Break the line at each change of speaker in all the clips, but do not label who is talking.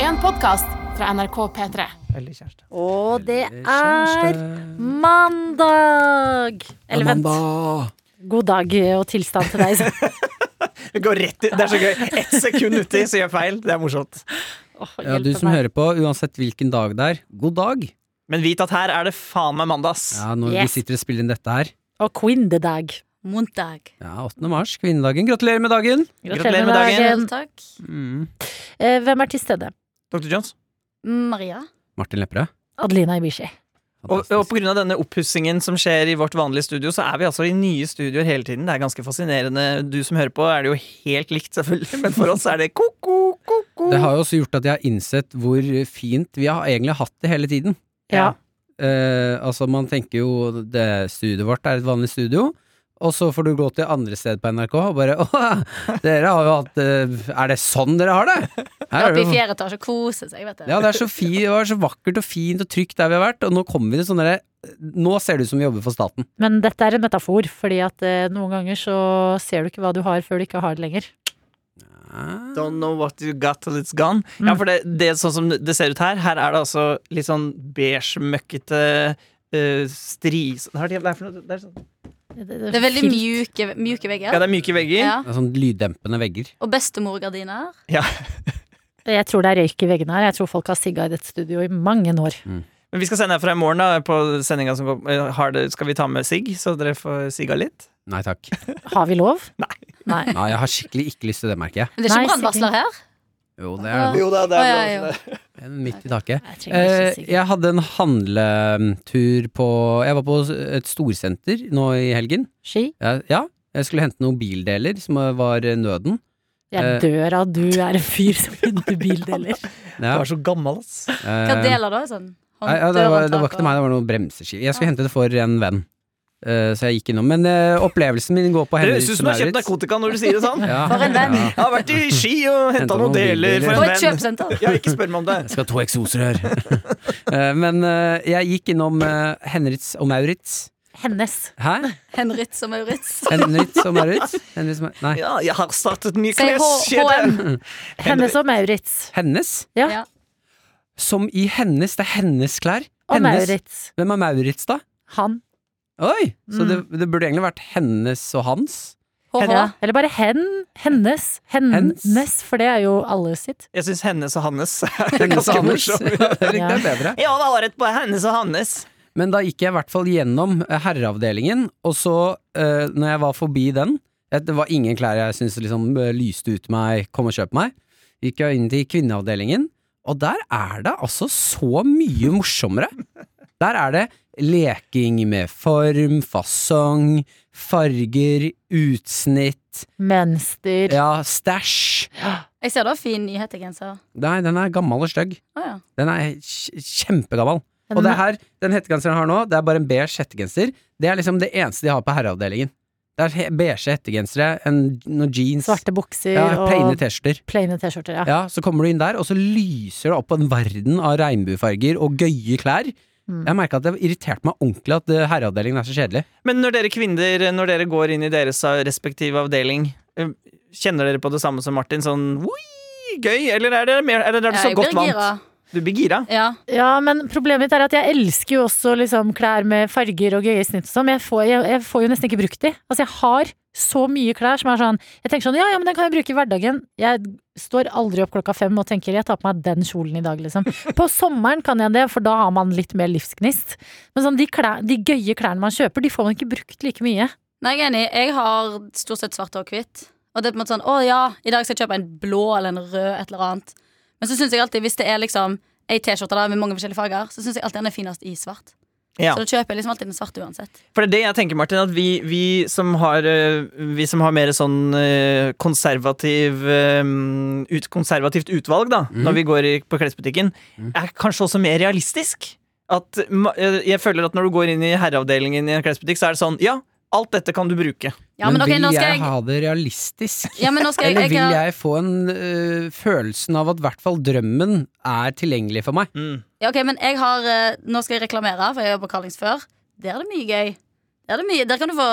en podkast fra NRK P3.
Eller kjæreste.
Og det
Kjæreste.
er mandag! Eller vent.
Amanda.
God dag eh, og tilstand til deg.
Det Går rett i, det er så gøy. Ett sekund uti, så gjør jeg feil. Det er morsomt.
Åh,
Ja, du
hjelpe
som
meg.
hører på, uansett hvilken dag det er, god dag!
Men vit at her er det faen meg mandags.
Ja, når
Yes.
vi sitter og spiller inn dette her.
Og kvinnedag.
Montag.
Ja, 8. mars, kvinnedagen. Gratulerer med dagen!
Gratulerer med dagen.
Takk.
Eh, Hvem er til stede?
Dr. Jones.
Maria.
Martin Lepperød.
Adelina Ibishi.
Og, og
Fantastisk.
på grunn av denne oppussingen som skjer i vårt vanlige studio, så er vi altså i nye studioer hele tiden. Det er ganske fascinerende. Du som hører på, er det jo helt likt, selvfølgelig, men for oss er det ko-ko, ko-ko.
Det har jo også gjort at jeg har innsett hvor fint vi har egentlig hatt det hele tiden.
Ja.
Eh, altså, man tenker jo det studioet vårt er et vanlig studio, og så får du gå til andre steder på NRK og bare Åh, dere har jo hatt eh, Er det sånn dere har det? Her er
Oppe i
det jo-
fjerde etasje og kose seg, vet du.
Ja, det, er så fi, det var så vakkert og fint og trygt der vi har vært, og nå kommer vi til sånn derre Nå ser det ut som vi jobber for staten.
Men dette er en metafor, fordi at eh, noen ganger så ser du ikke hva du har før du ikke har det lenger.
Ah.
Don't know what you got till it's gone. Ja, for det, det er sånn som det ser ut her, her er det altså litt sånn beige, møkkete eh, stri... Hva er det det er for noe? Det er, sånn.
Det er veldig mjuke, mjuke vegger.
ja, det er myke vegger.
Ja.
Det er sånn lyddempende vegger.
Og bestemorgardiner.
Jeg tror det er røyk i veggene her. Jeg tror folk har sigga i dette studioet i mange år.
Men vi skal sende herfra i morgen, da. På sendinga som går, eh, har det, skal vi ta med sigg, så dere får sigga litt.
Nei takk.
Har vi lov?
Nei.
Nei.
Nei, jeg har skikkelig ikke lyst til det, merker jeg.
Men det er
Nei,
ikke brannvarsler her.
Jo, det er
Jo da,
er Å, ja, lov
en Ah. midt i taket.
Jeg trenger ikke
Eh,
sigge.
jeg hadde en handletur på Jeg var på et storsenter nå i helgen.
Ski?
Jeg, ja, jeg skulle hente noen bildeler som var eh, nøden.
Jeg
Eh.
dør av at du er en fyr som henter bildeler.
Du
Ja,
er så gammel, ass.
Hva
eh,
deler da? Sånn?
Nei, ja, det, var, det var ikke til meg, det var noen bremseskiver. Jeg skulle hente det for en venn, Eh, så jeg gikk innom. Men eh, opplevelsen min går på
Det
Henrik
høres ut som du har kjøpt narkotika når du sier det sånn.
Ja,
For en venn.
ja.
Jeg har vært i Ski og henta
Hentet
noen
noen
deler
bildeler.
for
På
en
et
venn.
kjøpesenter.
Ja, ikke spør meg om det.
Jeg skal ha to eksosrør. Eh, Men eh, jeg gikk innom eh, Henrits og Maurits.
Hennes.
Hæ?
Henritz og Maurits.
Henrits og Maurits? Henrits og Mau- Nei.
Ja, jeg har startet ny
Si H-
kleskjede.
HM.
Hennes og Maurits.
Hennes?
Ja.
Ja.
Som i hennes. Det er hennes klær.
Og
Hennes.
Maurits.
Hvem er Maurits, da?
Han.
Oi! Så
Mm.
det, det burde egentlig vært hennes og hans.
HH.
Ja. Eller bare hen. Hennes. Hennes.
Hens.
For det er jo alle sitt.
Jeg syns hennes og hans er
Hennes
ganske
og hans. Ja,
morsomt.
det er riktig, det er bedre.
Ja, det var rett på hennes og hans.
Men da gikk jeg i hvert fall gjennom eh, herreavdelingen, og så, eh, når jeg var forbi den eh, Det var ingen klær jeg syntes liksom eh, lyste ut meg, kom og kjøp meg. Gikk jeg inn til kvinneavdelingen, og der er det altså så mye morsommere. Der er det leking med form, fasong, farger, utsnitt,
Mønster.
ja, stæsj.
Jeg ser du har fin nyhettegenser.
Nei, den er gammel og stygg.
Å ja.
Den er kj- kjempegammel. Og
Men-
det her, den hettegenseren jeg har nå, det er bare en beige hettegenser. Det er liksom det eneste de har på herreavdelingen. Det er he- beige hettegensere, en, noen jeans,
Svarte bukser
ja, plaine
og
T-skjorter.
plaine T-skjorter. Ja.
Ja, så kommer du inn der, og så lyser det opp en verden av regnbuefarger og gøye klær.
Mm.
Jeg merka at det irriterte meg ordentlig at eh, herreavdelingen er så kjedelig.
Men når dere kvinner når dere går inn i deres respektive avdeling, eh, kjenner dere på det samme som Martin? Sånn «Oi, gøy? Eller er det, mer, eller er det
Ja,
så
jeg
godt
blir gira.
vant? Du blir gira?
Ja.
Ja, men problemet mitt er at jeg elsker jo også liksom klær med farger og gøye snitt og sånn, men jeg får, jeg, jeg får jo nesten ikke brukt de. Altså, jeg har så mye klær som er sånn Jeg tenker sånn, ja, ja, men den kan jeg bruke i hverdagen. Jeg står aldri opp klokka fem og tenker jeg tar på meg den kjolen i dag, liksom. På sommeren kan jeg det, for da har man litt mer livsgnist. Men sånn, de, klær, de gøye klærne man kjøper, de får man ikke brukt like mye.
Nei, jeg er enig. Jeg har stort sett svart og hvitt. Og det er på en måte sånn Å ja, i dag skal jeg kjøpe en blå eller en rød et eller annet. Men så syns jeg alltid, hvis det er liksom ei T-skjorte da med mange forskjellige farger, så syns jeg alltid den er finest i svart.
Ja.
Så da kjøper jeg liksom alltid den svarte uansett.
For det er det jeg tenker, Martin, at vi, vi, som, har, eh, vi som har mer sånn eh, konservativ, eh, ut, konservativt utvalg da, når vi går i, på klesbutikken, er kanskje også mer realistisk. At, ma- eh, jeg føler at når du går inn i herreavdelingen i en klesbutikk, så er det sånn Ja, alt dette kan du bruke.
Ja, men, ok,
vil
nå skal
jeg
jeg,
ha det realistisk?
ja, men nå skal jeg,
Eller
jeg,
vil
jeg
jeg få en øh, følelsen av at i hvert fall drømmen er tilgjengelig for meg?
Mm.
Ja, ok, men jeg har eh, Nå skal jeg reklamere, for jeg har jobbet på Carlings før. Der er det mye gøy. Der, er det mye, der kan du få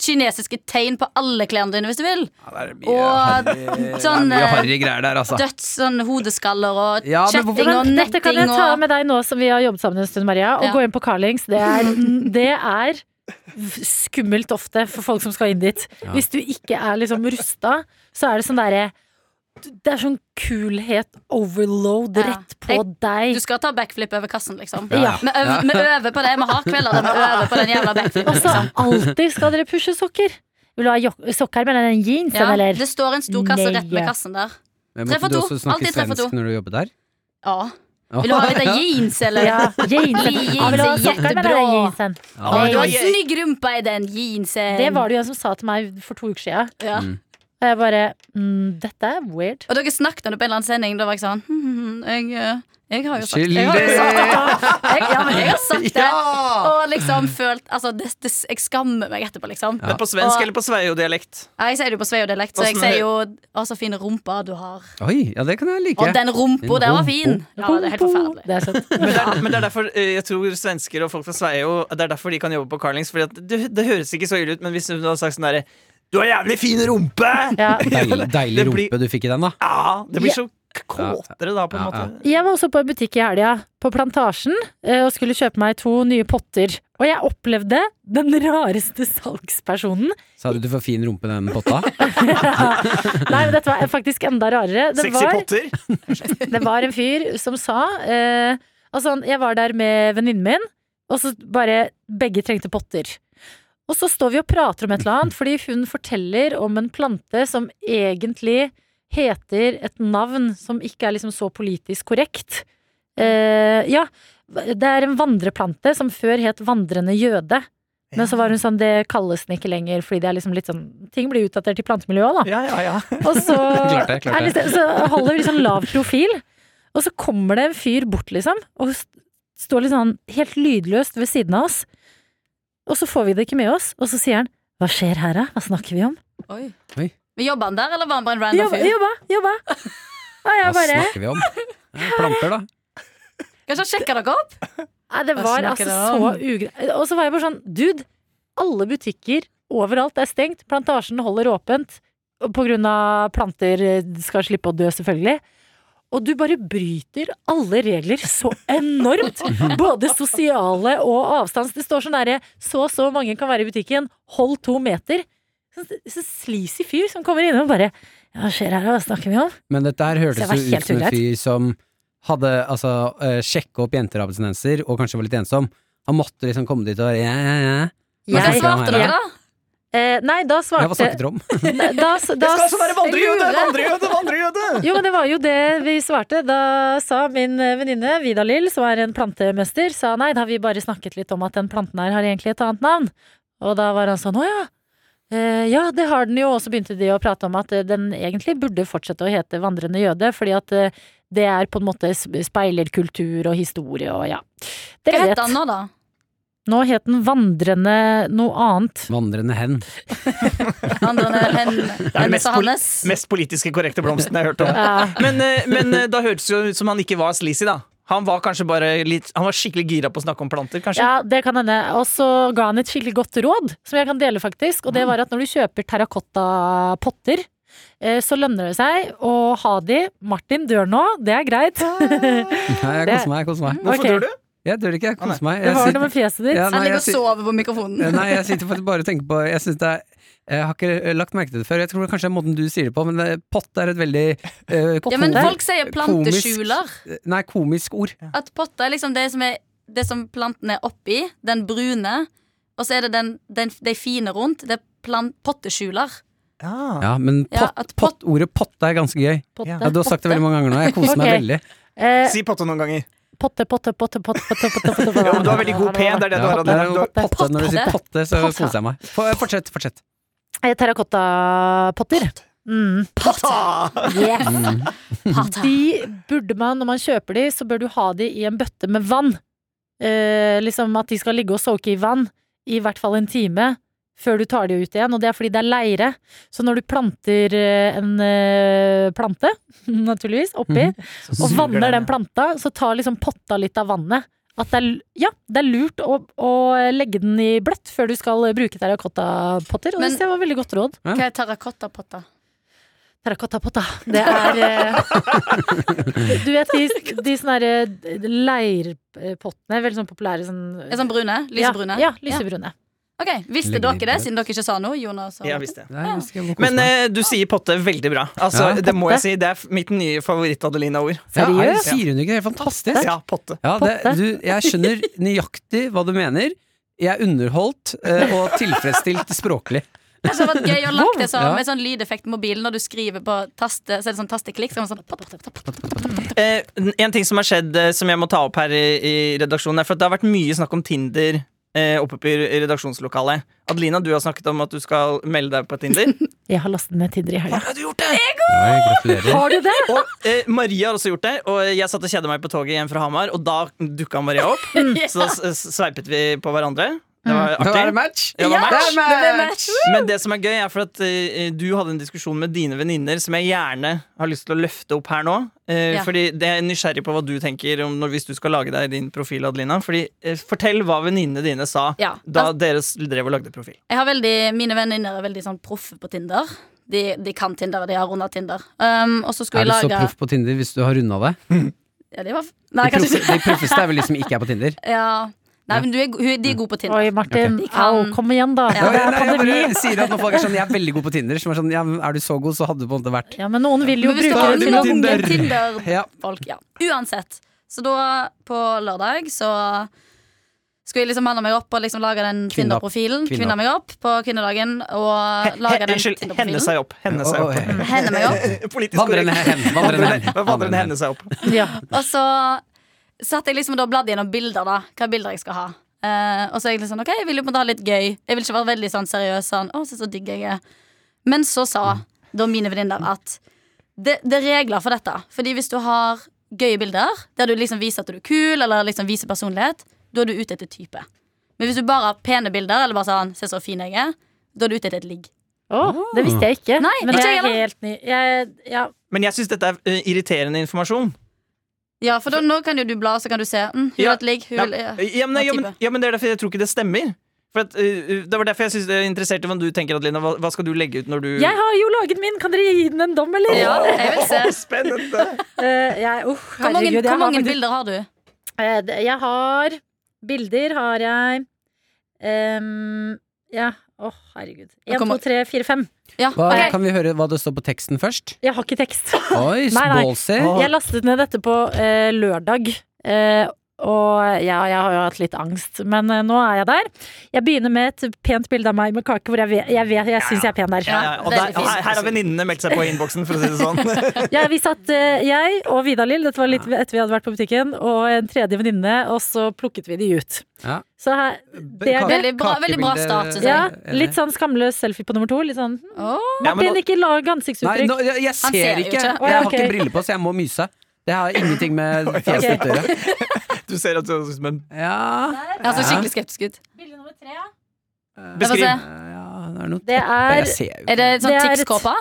kinesiske tegn på alle klærne dine hvis du vil.
Ja, det er
Og
harry-
sånn,
det er mye
eh,
harry greier der, altså.
Døds sånn hodeskaller og
Ja, men hvorfor-
kjetting og
Men dette kan jeg
netting
ta
og
med deg nå som vi har jobbet sammen en stund, Maria. Og
Ja.
gå inn på Carlings. Det er, det er v- skummelt ofte for folk som skal inn dit.
Ja.
Hvis du ikke er liksom rusta, så er det sånn derre Det er sånn kulhet overload
Ja.
rett på
Du
deg.
skal ta backflip over kassen, liksom.
Ja.
Vi, øver, vi øver på det. Vi har kvelder der vi øver på den jævla backflipen.
Og så alltid skal dere pushe sokker. Vil du ha jok- sokker med den jeansen,
Ja,
eller?
det står en stor kasse
Nei.
rett ved kassen der.
Men
tre for
måtte du
to.
også snakke
Alltid tre for
svensk
to.
når du jobbet der?
Ja. Vil du ha litt av jeans, eller?
Ja, jeansen.
Jeans
Ja, vil du ha
er
sokker med den
jättebra.
jeansen?
Å,
Ja.
du har snygg rumpa i den jeansen.
Det var det jo en som sa til meg for to uker siden.
Ja.
Mm.
Og jeg bare mm, Dette er weird.
Og dere snakket om det på en eller annen sending. Da var jeg sånn hm, hm, hm, jeg, eh, jeg har jo sagt
Skyldig.
Jeg har jo sagt det. Jeg, ja, men jeg har sagt det.
Ja!
Og liksom følt Altså, det, det, jeg skammer meg etterpå, liksom.
Men på svensk
Og-
eller på sveriodialekt?
Ja, jeg sier det jo på sveodialekt, så jeg
Åssen
sier
hø-
jo Å, så fin rumpa du har.
Oi, ja, det kan jeg like.
Og den rumpa,
Din
den
rumpa.
var fin. Ja, det er helt forferdelig.
Det er sant.
Men det, er, men det er derfor eh, jeg tror svensker og folk fra Sverige jo, Det er derfor de kan jobbe på Carlings. Fordi at det, det høres ikke så ille ut, men hvis hun hadde sagt sånn derre Du har jævlig fin rumpe!
Ja.
Deilig, deilig
Det blir-
rumpe du fikk i den, da.
Ja, det blir
Ja.
så k- kåtere da, på en
Ja, ja.
måte.
Jeg var også på en butikk i helga, på Plantasjen, eh, og skulle kjøpe meg to nye potter. Og jeg opplevde den rareste salgspersonen.
Sa du du får fin rumpe i den potta?
Nei, men dette var faktisk enda rarere. Det
Sexy
var,
potter.
det var en fyr som sa eh, Altså, han- jeg var der med venninnen min, og så bare Begge trengte potter. Og så står vi og prater om et eller annet, fordi hun forteller om en plante som egentlig heter et navn som ikke er liksom så politisk korrekt. Eh, ja, det er en vandreplante som før het vandrende jøde. Men så var hun sånn, det kalles den ikke lenger, fordi det er liksom litt sånn Ting blir utdatert i plantemiljøet òg, da.
Ja, ja, ja.
Og så,
Klart det, klart
er
det.
liksom, så holder vi litt sånn lav profil, og så kommer det en fyr bort, liksom, og st- står litt sånn helt lydløst ved siden av oss. Og så får vi det ikke med oss, og så sier han hva skjer her, da? Hva snakker vi om?
Oi.
Oi.
Men Jobba han der, eller var han bare en random
Jobba,
fyr?
jobba, jobba. Og
Hva
jeg bare
snakker vi om? Ja, Planter, da.
Kanskje han sjekka dere opp?
Nei, det
Hva
var
snakker
altså
dere
så
om?
ugreit. Og så var jeg bare sånn, dude, alle butikker overalt er stengt. Plantasjen holder åpent og på grunn av planter eh, skal slippe å dø, selvfølgelig. Og du bare bryter alle regler så enormt! Både sosiale og avstands. Det står sånn derre så og så mange kan være i butikken, hold to meter. Så, så sleazy fyr som kommer innom og bare ja, Hva skjer her, hva snakker vi om?
Men dette
Så
her
det
hørtes
var helt
jo ut som en
ugreit.
fyr som hadde altså, uh, sjekka opp jenteabstinenser og kanskje var litt ensom. Han måtte liksom komme dit og være ja, ja, ja.
Men hva
Jeg-
svarte dere, da?
eh, Nei, da
Ja, hva
svarte
snakket dere om?
da, da,
Det skal også være vandrejøde!
Lure.
Vandrejøde! vandrejøde.
Jo, men det var jo det vi svarte. Da sa min eh, venninne Vida Lill, som er en plantemester, sa nei, da har vi bare snakket litt om at den planten her har egentlig et annet navn. Og da var han sånn å ja. Eh, ja, det har den jo. Og så begynte de å prate om at eh, den egentlig burde fortsette å hete vandrende jøde, fordi at eh, det er på en måte sp- speiler kultur og historie og ja.
Hva
Dere
heter
vet.
han nå, da?
Nå het den vandrende noe annet.
Vandrende hen.
Andre enn
mest
Hennes og
poli-
Hannes?
Mest politiske korrekte blomsten jeg har hørt om.
Ja.
Men, eh, men eh, da hørtes det jo ut som han ikke var sleazy, da. Han var kanskje bare litt Han var skikkelig gira på å snakke om planter, kanskje.
Ja, det kan hende. Og så ga han et skikkelig godt råd, som jeg kan dele, faktisk.
Mm.
Og det var at når du kjøper terrakottapotter, eh, så lønner det seg å ha de. Martin dør nå, det er greit.
Nei, jeg
Det-
koser meg. Jeg koser meg.
Hvorfor
ok.
dør du?
Jeg dør ikke, jeg koser meg.
Det
Jeg
har
sit-
noe med fjeset ditt.
Ja,
Han
nei, jeg
ligger og
sit-
sover på mikrofonen.
Eh, Nei, jeg sitter faktisk bare og tenker på Jeg synes det er jeg har ikke eh, lagt merke til det før. Jeg tror kanskje det er måten du sier det på, men eh, pott er et veldig eh,
Ja, men
komisk-
folk sier planteskjuler.
Nei, komisk ord.
At potta er liksom det som, er, det som planten er oppi. Den brune. Og så er det den, den, de fine rundt. Det er plant, potteskjuler.
Ja.
Ja, men
Ja,
pott,
at
pott, ordet potte er ganske gøy.
Potte.
Ja, du har sagt det veldig mange ganger nå. Jeg koser meg
Ok.
veldig.
Eh,
Si potte noen ganger.
potte, potte, potte, potte, potte, potte, potte, potte.
Jo, men du har veldig god P, det er det du
Ja,
har.
det er jo
Adrian.
Potte.
potte. Når du sier potte, så
Potte.
koser jeg meg. Få- Fortsett, fortsett.
Eh, Terrakottapotter. Mm.
Potta!
Yes.
Mm.
Potta.
De burde man, når man kjøper de, så bør du ha de i en bøtte med vann. Eh, liksom at de skal ligge og soake i vann i hvert fall en time før du tar de ut igjen, og det er fordi det er leire. Så når du planter eh, en eh, plante, naturligvis, oppi, og vanner den planta, så tar liksom potta litt av vannet. at det er, ja, det er lurt å, å legge den i bløtt før du skal bruke terrakottapotter. Og
Men-
det synes jeg var veldig godt råd.
Hva er terrakottapotta?
Terrakottapotta. Det er eh, Du vet de, de sånne her, eh, leirpottene, veldig sånn populære sånn
Er sånn brune? Lysebrune?
Ja, ja lysebrune.
Ok, Visste
Legger
dere
de
det,
på.
siden dere ikke sa noe? Jonas og
Jeg visste det.
Nei, jeg skal gå og kose
Men
meg.
eh, du sier potte veldig bra. Altså,
Ja.
det må
Potte.
jeg si. Det er f- mitt nye favoritt-Adelina-ord.
ja, er,
seriøst?
Sier hun ikke det? Helt Fantastisk!
Ja, potte.
Ja, det, du, jeg skjønner nøyaktig hva du mener. Jeg er underholdt eh, og tilfredsstilt språklig.
Kanskje det hadde vært gøy å lage det som
Ja.
en sånn lydeffekt på mobilen når du skriver på taste, så er det sånn tasteklikk. Så er det sånn, pop, pop, pop, pop, pop.
Eh, en ting som har skjedd, eh, som jeg må ta opp her i, i redaksjonen, er for at det har vært mye snakk om Tinder eh, oppe i i redaksjonslokalet. Adelina, du har snakket om at du skal melde deg på Tinder.
Jeg har lastet ned Tinder i helga.
har du gjort det?
gratulerer.
Har du det?
Og eh, Maria har også gjort det, og jeg satt og kjeda meg på toget hjem fra Hamar, og da dukka Maria opp. Så s- s- sveipet vi på hverandre. Det var
Da er det
artig.
match!
Ja, det var match.
Det
Det
er
er
match!
Men det som er gøy, er for at eh, du hadde en diskusjon med dine venninner som jeg gjerne har lyst til å løfte opp her nå. Eh,
Ja.
Fordi det er nysgjerrig på hva du tenker om når, hvis du skal lage deg din profil, Adelina. Fordi, eh, fortell hva venninnene dine sa
Ja,
da dere s- drev og lagde profil.
Jeg har veldig, Mine venninner er veldig sånn proffe på Tinder. De, de kan Tinder, og de har runda Tinder. Um, og så skulle
Er du
jeg
så
lage
proff på Tinder hvis du har runda det?
ja, de, var, f-
De,
nei, kanskje,
proffe- de proffeste er vel de som ikke er på Tinder?
ikke- ja. nei, men du er, go- hun- de er gode på Tinder.
Oi, Martin.
De kan-
Au, kom igjen, da.
Ja,
Det er
Nei, jeg
pandemi.
bare sier at når folk er sånn Jeg er veldig god på Tinder. Som er sånn, ja, men er du så god, så hadde du på en måte vært
Ja, men noen vil jo
Men hvis du
bruke
har
det
noen
til å
unge
Tinder.
Tinder-folk,
Ja.
ja. Uansett. Så da, på lørdag, så skulle jeg liksom melde meg opp og liksom lage den
Kvinna-
Tinder-profilen.
kvinna.
Kvinne meg opp på kvinnedagen
He,
og lage
he,
den
unnskyld, henne
Tinder-profilen.
seg opp. Henne seg
Å,
opp.
å,
Henne meg opp.
Politisk
Vandrende
korrekt.
hen. Vandrende hen.
Vandrende henne seg opp.
Ja.
Og så satt jeg liksom og da bladde gjennom bilder, da. Hva bilder jeg skal ha. Eh, og så er jeg liksom, ok, jeg vil jo på en måte ha litt gøy. Jeg vil ikke være veldig sånn seriøs. Sånn, å, se så digg jeg er. Men så sa da mine venninner at det, det er regler for dette. Fordi hvis du har gøye bilder, der du liksom viser at du er kul, eller liksom viser personlighet, da er du ute etter type. Men hvis du bare har pene bilder, eller bare sånn, se så fin jeg er, da er du ute etter et ligg.
Å, det visste jeg ikke.
Nei,
men
ikke
det
jeg
er
heller.
helt ny. Jeg, ja.
Men jeg syns dette er eh, irriterende informasjon.
Ja, for da, nå kan jo du bla, så kan du se. Mm, hun vil
Ja.
ha et ligg. Hun
Ja,
vil ja.
ja, men, ja, men,
type.
ja, men det er derfor jeg tror ikke det stemmer. For at, eh, det var derfor jeg synes det er interessert i hva du tenker, Adelina. Hva, hva skal du legge ut når du
jeg har jo laget min! Kan dere gi den en dom, eller?
Ja, jeg vil se.
Spennende!
Eh, jeg, oh,
Hvor mange,
herregud, jeg
hvor
har
mange
faktisk-
bilder har du?
Eh, det- Jeg har Bilder har jeg em, Ja, å herregud. Én,
Nå
to,
kommer-
tre, fire, fem.
Ja,
Hva,
ok.
Kan vi høre hva det står på teksten først?
Jeg har ikke tekst.
Oi,
Nei, nei.
ballsy.
Å,
Jeg lastet ned dette på eh, lørdag. eh, og ja, jeg har jo hatt litt angst, men eh, nå er jeg der. Jeg begynner med et pent bilde av meg med kake, hvor jeg, vet, jeg, vet, jeg syns jeg er pen der.
Ja, ja, og der,
Veldig fint.
her, her har venninnene meldt seg på i innboksen, for å si det sånn.
Ja, vi satt, eh, jeg og Vidar-Lill, dette var litt etter vi hadde vært på butikken, og en tredje venninne, og så plukket vi de ut.
Ja.
Så her, det er det.
Veldig bra- veldig bra
Kakebilde-
start, synes jeg.
Ja, litt sånn skamløs selfie på nummer to. Litt sånn hm,
Åh.
Ja, men
Martin,
nå-
ikke lag
Nei, nå,
ansiktsuttrykk.
jeg, jeg ser,
ser jo
ikke.
ikke.
Jeg
Å,
ja,
har
ok.
ikke briller på, så jeg må myse. Det har ingenting med
Ok.
fjeset å gjøre.
du ser at du ser ut som en
Ja,
Jeg så Altså, skikkelig skeptisk ut.
Bilde nummer tre.
Beskriv.
Jeg får
ja, det er noe
Det er
Jeg ser jo
Er
ikke.
det sånn
Det er et-
tipskåpe?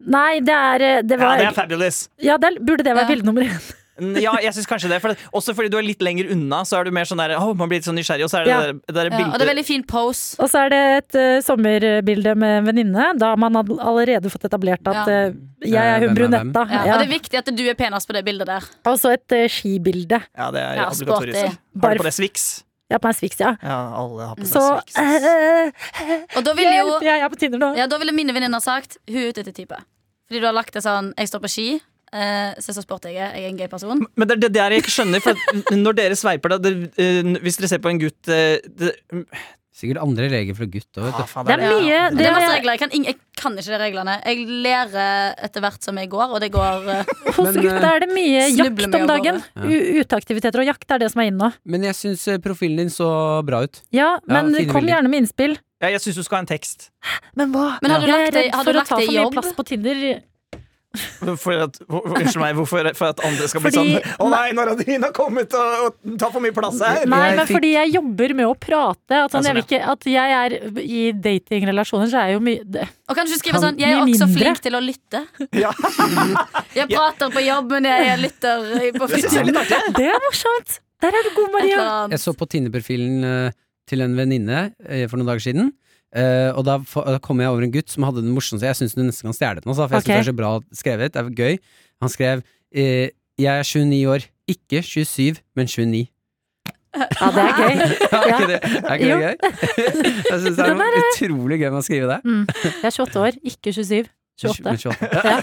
Nei, det er eh, Det
Ja,
var
det er fabulous.
Ja, det er- burde det være
Ja.
bilde nummer én?
Mm, Ja, jeg synes kanskje det. For det også fordi du er litt lenger unna, så er du mer sånn der Å, man blir litt sånn nysgjerrig, og så er det
Ja.
det der, det der
Ja, og
bildet
det er veldig fin pose.
Og så er det et eh, sommerbilde med en venninne, da man hadde allerede fått etablert at
Ja.
eh, jeg er hun
Hvem er hvem?
brunetta.
Ja.
Ja.
Og det er viktig at du er penest på det bildet der.
Og så et eh, skibilde.
Ja, det er
Ja,
obligatorisk.
sporty.
Har
Bare-
du på deg Swix?
Jeg har på meg Swix, ja.
Ja, alle har på seg
Så
Swix.
eh,
Og da ville jo
Hjelp, jeg er på Tinder nå.
ja, da ville mine venninner sagt hun er ute etter type. Fordi du har lagt det sånn jeg står på ski, eh, se så sporty jeg er, jeg er en gøy person.
Men det er det der jeg ikke skjønner, for at når dere sveiper da det, eh, Hvis dere ser på en gutt eh, det,
Sikkert andre regler fra gutter.
Ah,
Vet du.
faen,
Det er mye
Det,
det,
er masse regler. Jeg kan, ing- jeg kan ikke de reglene. Jeg lærer etter hvert som jeg går, og det går eh,
Hos
Men, eh,
gutta er det mye jakt
snubler med
om
å
dagen.
gå.
U- Uteaktiviteter og jakt er det som er inne nå.
Men jeg syns eh, profilen din så bra ut.
Ja, men
fine
kom
bilder.
gjerne med innspill.
Ja, jeg syns du skal ha en tekst.
Men hva?
Men har du
jeg
lagt
er
det-
redd
har du
for å
lagt
ta
det i
for mye
jobb?
plass på Tinder.
For at, hvor- hvor- unnskyld meg, hvorfor for at andre skal
Fordi-
bli sånn Å nei, når Adelina har kommet og, og tar for mye plass her!
Nei,
Jeg
men
fikk-
fordi jeg jobber med å prate. At, sånn,
Ja,
jeg, vil
sånn,
ikke, at jeg er i datingrelasjoner, så er jeg jo mye det-
Og kan du ikke skrive
Kan
sånn Jeg er
bli
også
mindre.
flink til å lytte.
Ja.
Jeg prater på jobb, men jeg lytter på
Det synes jeg er
fritiden.
litt artig.
Det er morsomt! Der er du god,
Et eller
Maria!
annet.
Jeg så på Tinder-profilen eh, til en venninne eh, for noen dager siden. eh, og da, fa- da kom jeg over en gutt som hadde den morsomste Jeg syns du nesten kan stjele den, altså, for jeg
Ok.
synes det er så bra skrevet. Det er gøy. Han skrev eh, 'Jeg er 29 år, ikke 27, men 29'.
Ja, det er gøy.
Ja, er ikke det, er ikke
Jo.
det gøy? jeg syns det er
Den
noe utrolig gøy med å skrive det.
Mm. Jeg er 28 år, ikke 27. 28.
Men 28.
Ja.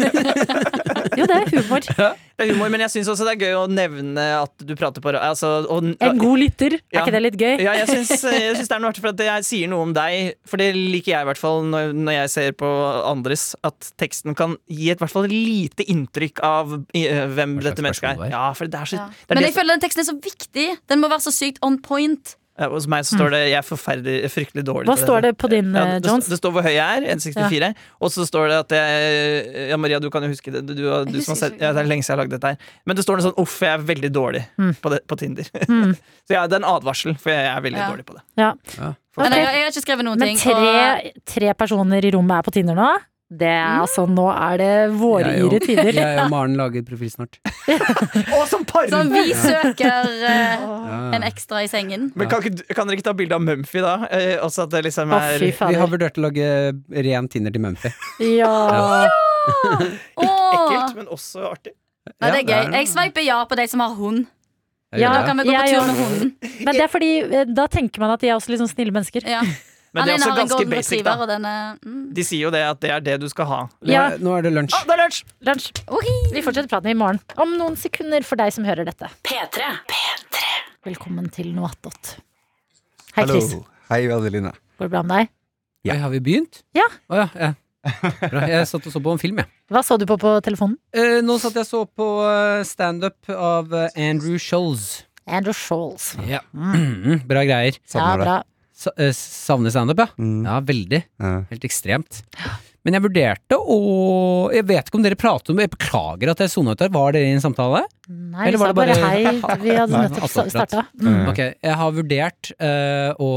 Jo, det er humor.
Det er humor, men jeg syns også det er gøy å nevne at du prater på ra- altså, og,
En god lytter, er
Ja.
ikke det litt gøy?
Ja, jeg syns, jeg syns det er noe artig, for at det er- sier noe om deg. For det liker jeg i hvert fall når, når jeg ser på andres, at teksten kan gi et hvert fall lite inntrykk av i, eh, hvem
Hva slags
dette mennesket
person du
er.
er.
Ja, for det er så
Ja.
det er
Men
det,
jeg føler den teksten er så viktig. Den må være så sykt on point.
som- Hos meg så står det 'jeg er forferdelig, fryktelig dårlig'.
Mm. Hva
til dette».
står det på din,
Ja,
eh,
det,
Jones?
det står hvor høy jeg er, 1,64. Og så står det at jeg Ja, Maria, du kan jo huske det. Du, du, du som har
husker
sett,
ikke.
ja, det er lenge siden jeg har lagd dette her. Men det står noe sånn 'uff, jeg er veldig dårlig'
Mm.
på, det, på Tinder.
Mm.
så ja, det er en advarsel, for jeg er veldig
Ja.
dårlig på det.
Ja.
Ja.
Men jeg,
Ok,
jeg har ikke skrevet noen
Men
ting. og- Mm.
tre, tre personer i rommet er på Tinder nå? Det er altså, nå er det våryre
Jeg og-
tider.
Jeg og Maren lager profil snart.
Å, som par!
Så vi søker eh,
Ja.
en ekstra i sengen.
Men kan, ikke du- kan dere ikke ta bilde av Mumphy, da? Eh, også at det liksom
Å,
er
fy
Vi har
fader.
vurdert å lage ren Tinder til Mumphy.
Ja.
ekkelt,
Åh!
men også artig.
Nei, det er
Ja,
gøy. Jeg sveiper ja på de som har hund.
Jeg
Ja.
gjør
Da
det.
kan vi gå på
Jeg
tur med
også.
hunden.
Men det er fordi eh, da tenker man at de er også litt sånn snille mennesker.
Ja.
Men det er
Alene
også
har en
ganske
golden
basic,
retriever,
da.
og den er mm.
De sier jo det at det er det du skal ha.
Nå,
Ja.
er- nå er det lunsj.
Ah, det er lunsj!
Lunsj. Vi fortsetter praten i morgen. Om noen sekunder for deg som hører dette.
P3.
Velkommen til noe attåt. Hei, Chris.
Hei, Adelina.
Går det bra med deg?
Oi, har vi begynt?
Ja.
Å ja, ja. Bra. Jeg satt og så på en film, jeg.
Hva så du på på telefonen?
Eh, nå satt jeg og så på eh, standup av eh, Andrew Scholes.
Andrew Scholes.
Ja. Bra greier.
Ja,
Savner deg.
bra.
Sa, eh, savner standup, ja?
Mm.
Ja, veldig.
Ja.
Helt ekstremt. Men jeg vurderte å Jeg vet ikke om dere prater om det, jeg beklager at jeg sona ut der. Var dere i en samtale?
Nei,
Eller
vi sa
var det
bare
bare-
hei. Vi hadde
Nei,
nettopp
attåtprat.
starta.
Mm.
Ok, jeg har vurdert eh, å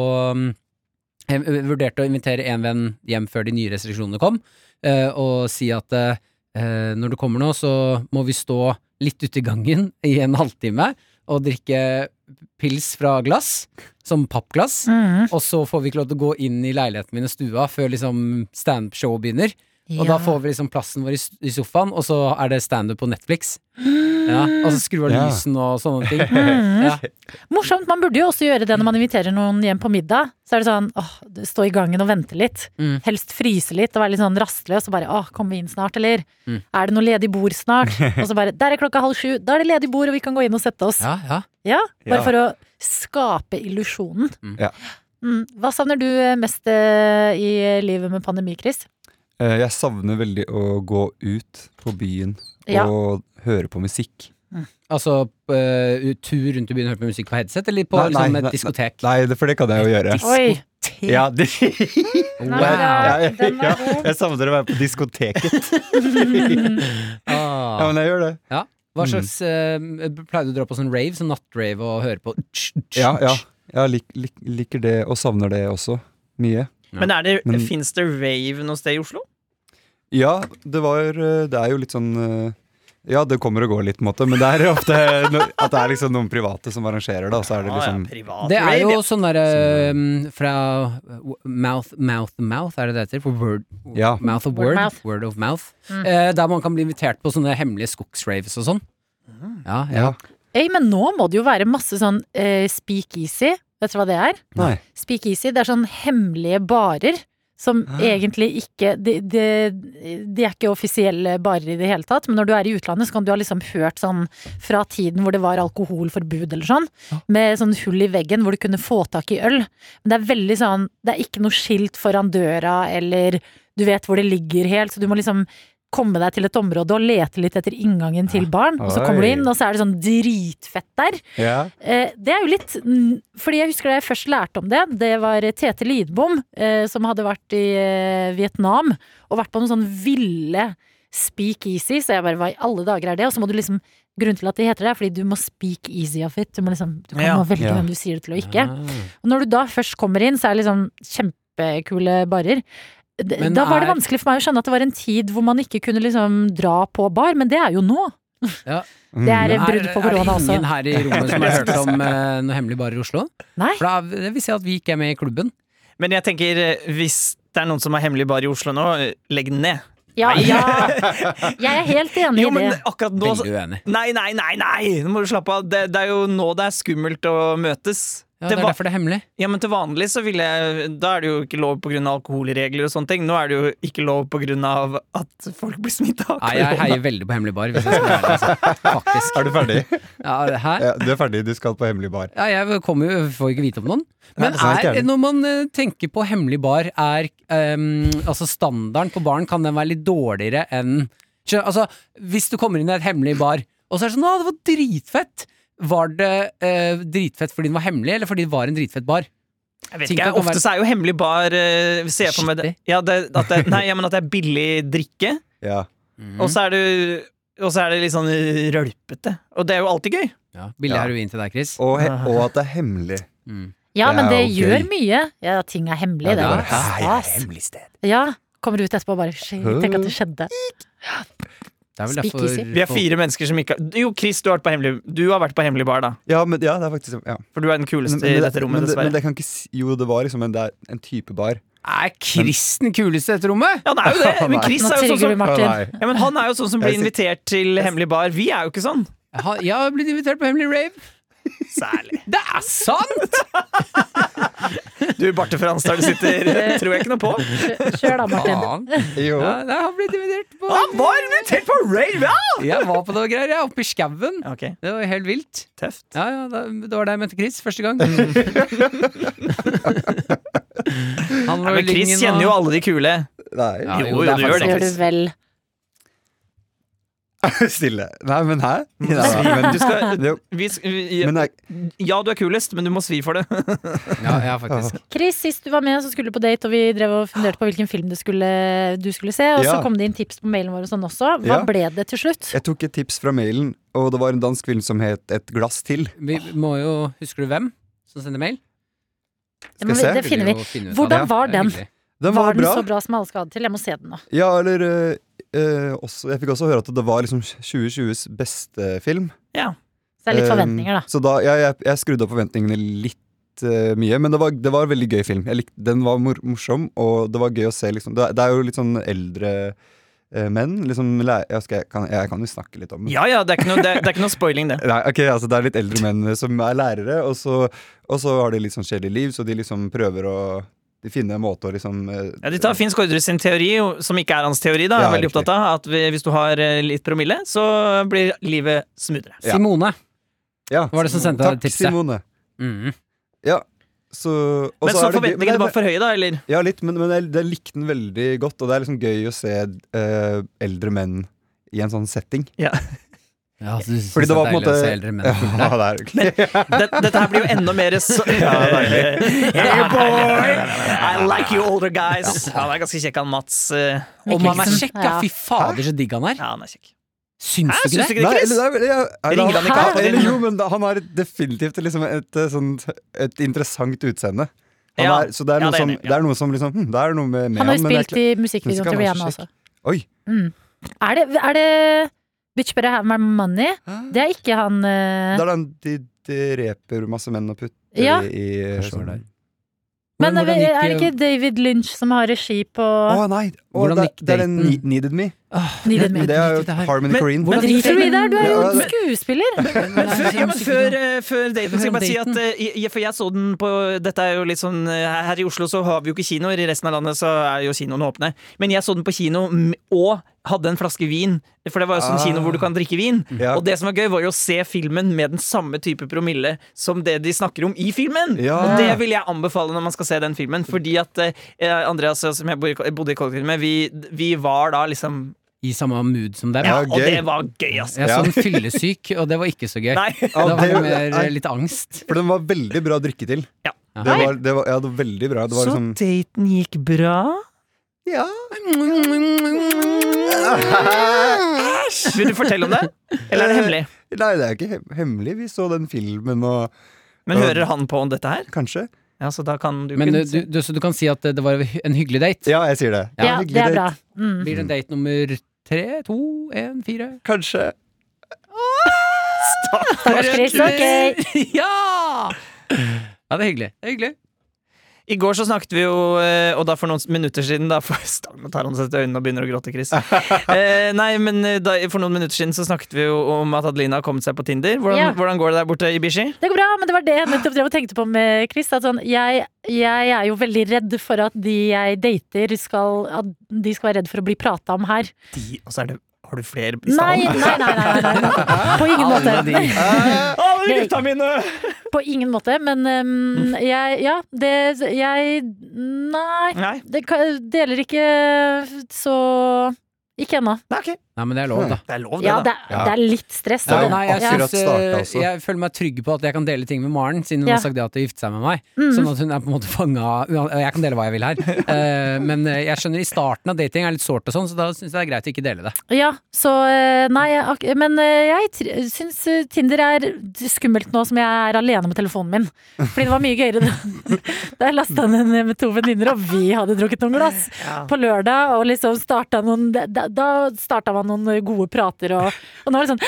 Jeg vurderte å invitere en venn hjem før de nye restriksjonene kom, eh, og si at eh, eh, når du kommer nå, så må vi stå litt ute i gangen i en halvtime og drikke pils fra glass, som pappglass.
Mm.
Og så får vi ikke lov til å gå inn i leiligheten min og stua før liksom standup-showet begynner. Og
Ja.
da får vi liksom plassen vår i s- i sofaen, og så er det standup på Netflix. Ja, og så skrur av
Ja.
lysene og sånne ting.
Mhm.
Ja.
Morsomt. Man burde jo også gjøre det når man inviterer noen hjem på middag. Så er det sånn åh, du- stå i gangen og vente litt.
Mm.
Helst fryse litt og være litt sånn rastlig, og så bare åh, kommer vi inn snart, eller?
Mm.
Er det noe ledig bord snart? Og så bare der er klokka halv sju, da er det ledig bord, og vi kan gå inn og sette oss.
Ja, ja.
Ja, bare
Ja.
for å skape illusjonen.
Mm.
Ja.
Mm. Hva savner du eh, mest eh, i livet med pandemi, Chris?
Eh, Jeg savner veldig å gå ut på byen
Ja.
og høre på musikk.
Altså eh, tur rundt i byen og høre på musikk på headset, eller på
Nei, nei,
liksom,
nei,
et diskotek?
Nei, det- for det kan jeg jo gjøre.
Oi!
oh.
Ja, det,
Nei,
Wow.
bra.
Ja,
Den var
ja.
god.
jeg savner å være på diskoteket. Ja,
Ah.
men Mm. jeg gjør det.
Hva slags eh, Pleide du å dra på sånn rave, sånn nattrave, og høre på
Ja, ja. Jeg lik, lik, liker det og savner det også. Mye.
Men, er det-
Men-
fins det rave noe sted i Oslo?
Ja, det var eh, Det er jo litt sånn eh, Ja, det kommer og går litt, på en måte, men det er ofte no, at det er liksom noen private som arrangerer det, og så er det liksom
Ah, privat
Det er jo
rave.
sånn derre eh, fra mouth, mouth, mouth, er det det heter? For word,
Ja.
mouth of
Word
word.
mouth. Mm.
Word of mouth. Eh, der man kan bli invitert på sånne hemmelige skogsraves og sånn. Ja, ja.
Mm. Ja.
Øy, men nå må det jo være masse sånn eh, speakeasy. Vet du hva det er?
Nei.
Speakeasy, det er sånn hemmelige barer som egentlig ikke de, de, de er ikke offisielle barer i det hele tatt, men når du er i utlandet, så kan du ha liksom hørt sånn fra tiden hvor det var alkoholforbud eller sånn, med sånn hull i veggen hvor du kunne få tak i øl. Men det er veldig sånn Det er ikke noe skilt foran døra, eller du vet hvor det ligger helt, så du må liksom komme deg til et område og lete litt etter inngangen til baren, og så kommer du
Oi.
inn, og så er det sånn dritfett der.
Ja.
Eh, Det er jo litt mm, Fordi jeg husker da jeg først lærte om det. Det var Tete Lidbom eh, som hadde vært i eh, Vietnam og vært på noen sånn ville speak easy. Så jeg bare hva i alle dager er det? Og så må du liksom Grunnen til at det heter det, er fordi du må speak easy of it. Du må liksom Du kan
Ja.
må velge
Ja.
hvem du sier det til og ikke.
Ah.
Og når du da først kommer inn, så er det liksom kjempekule barer. D-
Men
Da var det
er-
vanskelig for meg å skjønne at det var en tid hvor man ikke kunne liksom dra på bar, men det er jo nå. Det er et brudd
Mm. Er,
på
er det
korona også.
ingen her i rommet som har hørt om eh, noe hemmelig bar i Oslo?
Nei?
For da, er- det vil si at vi ikke er med i klubben.
Men jeg tenker, eh, hvis det er noen som har hemmelig bar i Oslo nå, eh, legg den ned.
Ja, ja. Jeg er helt enig
Jo,
i
men
det.
akkurat nå så-
Veldig uenig.
Nei, nei, nei! nei Nå må du slappe av. Det, det er jo nå det er skummelt å møtes.
Ja,
Til
det er
va-
derfor det er hemmelig.
Ja, men til vanlig så ville jeg Da er det jo ikke lov pga. alkoholregler og sånne ting. Nå er det jo ikke lov pga. at folk blir smitta av
Nei, jeg
korona.
heier veldig på hemmelig bar. Hvis jeg skal være ærlig, altså. Faktisk.
Er du ferdig?
Ja, hæ?
Ja, du er ferdig, du skal på hemmelig bar.
Ja, jeg kommer jo, får ikke vite om noen. Men
det er sant,
er,
gjerne.
når man eh, tenker på hemmelig bar, er ehm, altså standarden på baren kan den være litt dårligere enn Skjø- Altså, hvis du kommer inn i et hemmelig bar, og så er det sånn 'Å, det var dritfett'. Var det eh, dritfett fordi den var hemmelig, eller fordi det var en dritfett bar?
Jeg vet
Ting
ikke,
kan
Ofte
være-
så er jo hemmelig bar eh, ser jeg for meg det.
Skittig.
Ja, det, at det, nei, ja, men at det er billig drikke,
Ja.
Mhm. Mm.
og så er det og så er det litt sånn rølpete. Og det er jo alltid gøy.
Ja, Billig
Ja.
heroin til deg, Chris.
Og, he og at det er hemmelig.
Mm.
Ja, men det
Det er jo
gjør
gøy.
mye. Ja, ting er hemmelig, det.
Ja,
er
det er-
jo Stas.
hemmelig sted.
Ja. Kommer ut etterpå og bare shit, Tenk at det skjedde.
Det er vel derfor
Speakeasy.
Vi er fire mennesker som ikke har Jo, Chris, du har vært på hemmelig, du har vært på hemmelig bar, da.
Ja, men, ja, det er faktisk ja.
For du er den kuleste
Men- men
i
det-
dette rommet,
men det- Men
dessverre.
det kan ikke si Jo, det var liksom en, det er en type bar.
Er Chris den kuleste i dette rommet?
ja, han er jo det! Men Chris
Nå
er jo sånn
trigger du
som
Martin.
ja, men han er jo sånn som blir
Jeg
invitert til hemmelig bar. Vi er jo ikke sånn.
Ha, jeg har blitt invitert på hemmelig rave.
Særlig.
Det er sant!
Du, Barte fra Ansdal, du sitter tror jeg ikke noe på.
Kjør da,
Ah,
Martin.
Faen.
Jo.
Ja, jeg har blitt invitert på
Han var invitert på rave, ja!
Jeg var på noe greier, jeg, oppe i skauen.
Ok,
Det var helt vilt.
tøft.
Ja, ja, da, det var da jeg møtte Chris første gang. Han
Nei, men Chris kjenner jo alle de kule.
Nei.
Ja,
Jo, jo, du gjør
Det gjør du
Chris.
vel.
Stille. Nei, men hæ?
svi,
Nei, men,
Du skal,
jo,
vi, sk- vi-
men Mm. jeg,
ja, du er kulest, men du må svi for det.
Ja, ja, faktisk.
Chris, sist du var med, så skulle du på date, og vi drev og funderte på hvilken film du skulle, du skulle se. Og så
Ja.
kom det inn tips på mailen vår og sånn også. Hva
Ja.
ble det til slutt?
jeg tok et tips fra mailen, og det var en dansk film som het Et glass til.
Vi må jo Husker du hvem som sender mail?
Det, må
jeg se?
vi, det finner vi.
jo finne ut
Hvordan
av det.
var
Det er
den?
hyggelig.
Den var,
Var den
bra.
så bra som alle skal ha det til? Jeg må se den nå.
Ja, eller eh, eh, også, Jeg fikk også høre at det var liksom 2020s beste film.
Så det er litt
Eh,
forventninger, da.
Så da, ja, jeg, jeg skrudde opp forventningene litt eh, mye, men det var, det var en veldig gøy film. Jeg likte, den var mor morsom, og det var gøy å se. Liksom. Det, er- det er jo litt sånn eldre eh, menn. Liksom, læ- jeg, skal, jeg, kan, jeg kan jo snakke litt om det.
Ja, ja, det er ikke noe, det er, det er ikke noe spoiling, det.
Nei, ok, altså Det er litt eldre menn som er lærere, og så, og så har de litt sånn kjedelig liv, så de liksom prøver å de finne en måte å liksom eh,
Ja, de tar Finn Skårderud sin teori, som ikke er hans teori, da.
Ja,
er veldig
riktig.
opptatt av At vi- hvis du har eh, litt promille, så blir livet smoothere.
Ja.
Simone.
ja,
Var det som sendte
Takk,
deg tipset?
Simone.
Mhm.
Ja, så, og
Men
så
så
er det gøy-
forventningene
men
var
det-
for høye, da, eller?
Ja, litt, men, men jeg, jeg likte den veldig godt, og det er liksom gøy å se eh, eldre menn i en sånn setting.
Ja, så du synes
Fordi det var på en
deilig å se
måte
eldre menn
Ja,
fulle?
det er okay.
Det, dette her blir jo enda mer så Hey boy! I like you older guys. Han er ganske kjekk, han Mats. eh.
Om han er
Mikkelsen.
kjekk, ja.
Ja.
Fy fader, så digg han er.
Ja, han er kjekk.
Syns
Hæ,
du
syns
ikke
du ikke det,
det?
Nei,
Chris?
eller, det er vel- ja, er det-
Ringte han ikke
Hæ?
av på din-
Eller Jo, men da- han har definitivt liksom et, eh, sånt, et interessant utseende. Han
Ja.
er, så det er
Ja,
noe,
det er
som,
enig, ja.
det er noe som liksom hm, Det er noe med, med
Han har jo
men det er
spilt i
men skal
musikkvideoen til
han være så
Rihanna også.
ikke- Oi!
Mm. Er det, er det Bitch Better Have My Money? Det er ikke han eh,
Det er den de, de reper masse menn og putter
Ja.
i- i
Forstår
sånn-
det.
Men er,
Hvordan
vi-
gikk,
er det
eh,
ikke David Lynch som har regi på
Å nei! Å,
Hvordan
det,
gikk
det er den
daten?
Ne- Needed Me.
Needed
Men
Me?
det er jo
det her.
Harmony
Men-
Korine.
hvordan-
Men driter du i det? her? Du er
Ja,
jo
det-
skuespiller!
Men før, ja, men før, eh, før daten skal jeg bare si
Daten.
at eh, jeg, For jeg så den på Dette er jo litt sånn eh, Her i Oslo så har vi jo ikke kinoer, i resten av landet så er jo kinoene åpne. Men jeg så den på kino m- og hadde en flaske vin, for det var jo sånn
Ah.
kino hvor du kan drikke vin.
Ja.
Og det som var gøy, var jo å se filmen med den samme type promille som det de snakker om i filmen.
Ja.
Og det vil jeg anbefale når man skal se den filmen, fordi at eh, Andreas, som jeg bor i- bodde i kollektiv med, vi, vi var da liksom
I samme mood som dem?
Ja,
Ja,
og
gøy.
det var gøy, ass.
Jeg
Ja.
så en fyllesyk, og det var ikke så gøy.
Nei.
Ja,
Da var det
det-
mer
nei.
litt angst.
For den var veldig bra å drikke til.
Ja.
Det var, det var, ja, det var veldig bra. Det var liksom
Så daten gikk bra?
Ja.
Vil du fortelle om det? Eller er det hemmelig?
Nei, det er ikke hem- hemmelig. Vi så den filmen og
Men
Ja.
hører han på om dette her?
Kanskje?
Ja, så da kan du
Men eh,
kunne
du, du, du, så du kan si at eh, det var en hyggelig date?
Ja, jeg sier det.
Ja,
Hyggelig
det er
date.
bra. Mm.
Blir det date nummer tre, to, én, fire?
Kanskje.
Stakkars Chris. Ok.
ja! ja! Det er hyggelig. Det er hyggelig.
I går så snakket vi jo, eh, og da for noen minutter siden da, for, Stang, Nå tar han seg til øynene og begynner å gråte, Chris. Eh, nei, men eh, da, for noen minutter siden så snakket vi jo om at Adelina har kommet seg på Tinder. Hvordan,
Ja.
hvordan går det der borte, Ibishi?
Det går bra, men det var det jeg nettopp drev og tenkte på med Chris. At sånn, jeg, jeg er jo veldig redd for at de jeg dater, skal, at de skal være redd for å bli prata om her.
De, og så er det Har du flere i
Nei, nei,
salen?
nei, nei, nei, nei. På ingen måte.
Alle de.
Alle gutta mine!
På ingen måte, men øhm, jeg Ja, det Jeg Nei.
Nei,
Det ka- deler ikke så Ikke ennå.
nei, ok.
Nei, men det er lov, da.
Det er lov, det,
Ja,
da.
det, er- det er litt stress.
Ja,
da.
nei, jeg,
Ja.
akkurat
synes, eh,
startet, altså.
jeg føler meg trygg på at jeg kan dele ting med Maren, siden hun
Ja.
har sagt ja til å gifte seg med meg.
Mm.
Sånn at hun er på en måte fanga Jeg kan dele hva jeg vil her, Eh, men eh, jeg skjønner i starten av dating er litt sårt og sånn, så da syns jeg det er greit å ikke dele det.
Ja, så eh, Nei, jeg ak- men eh, jeg tr- syns eh, Tinder er skummelt nå som jeg er alene med telefonen min. Fordi det var mye gøyere da da jeg lasta den ned med to venninner, og vi hadde drukket noen glass
Ja.
på lørdag. Og liksom starta noen Da, da starta man noen gode prater, og, og nå er det sånn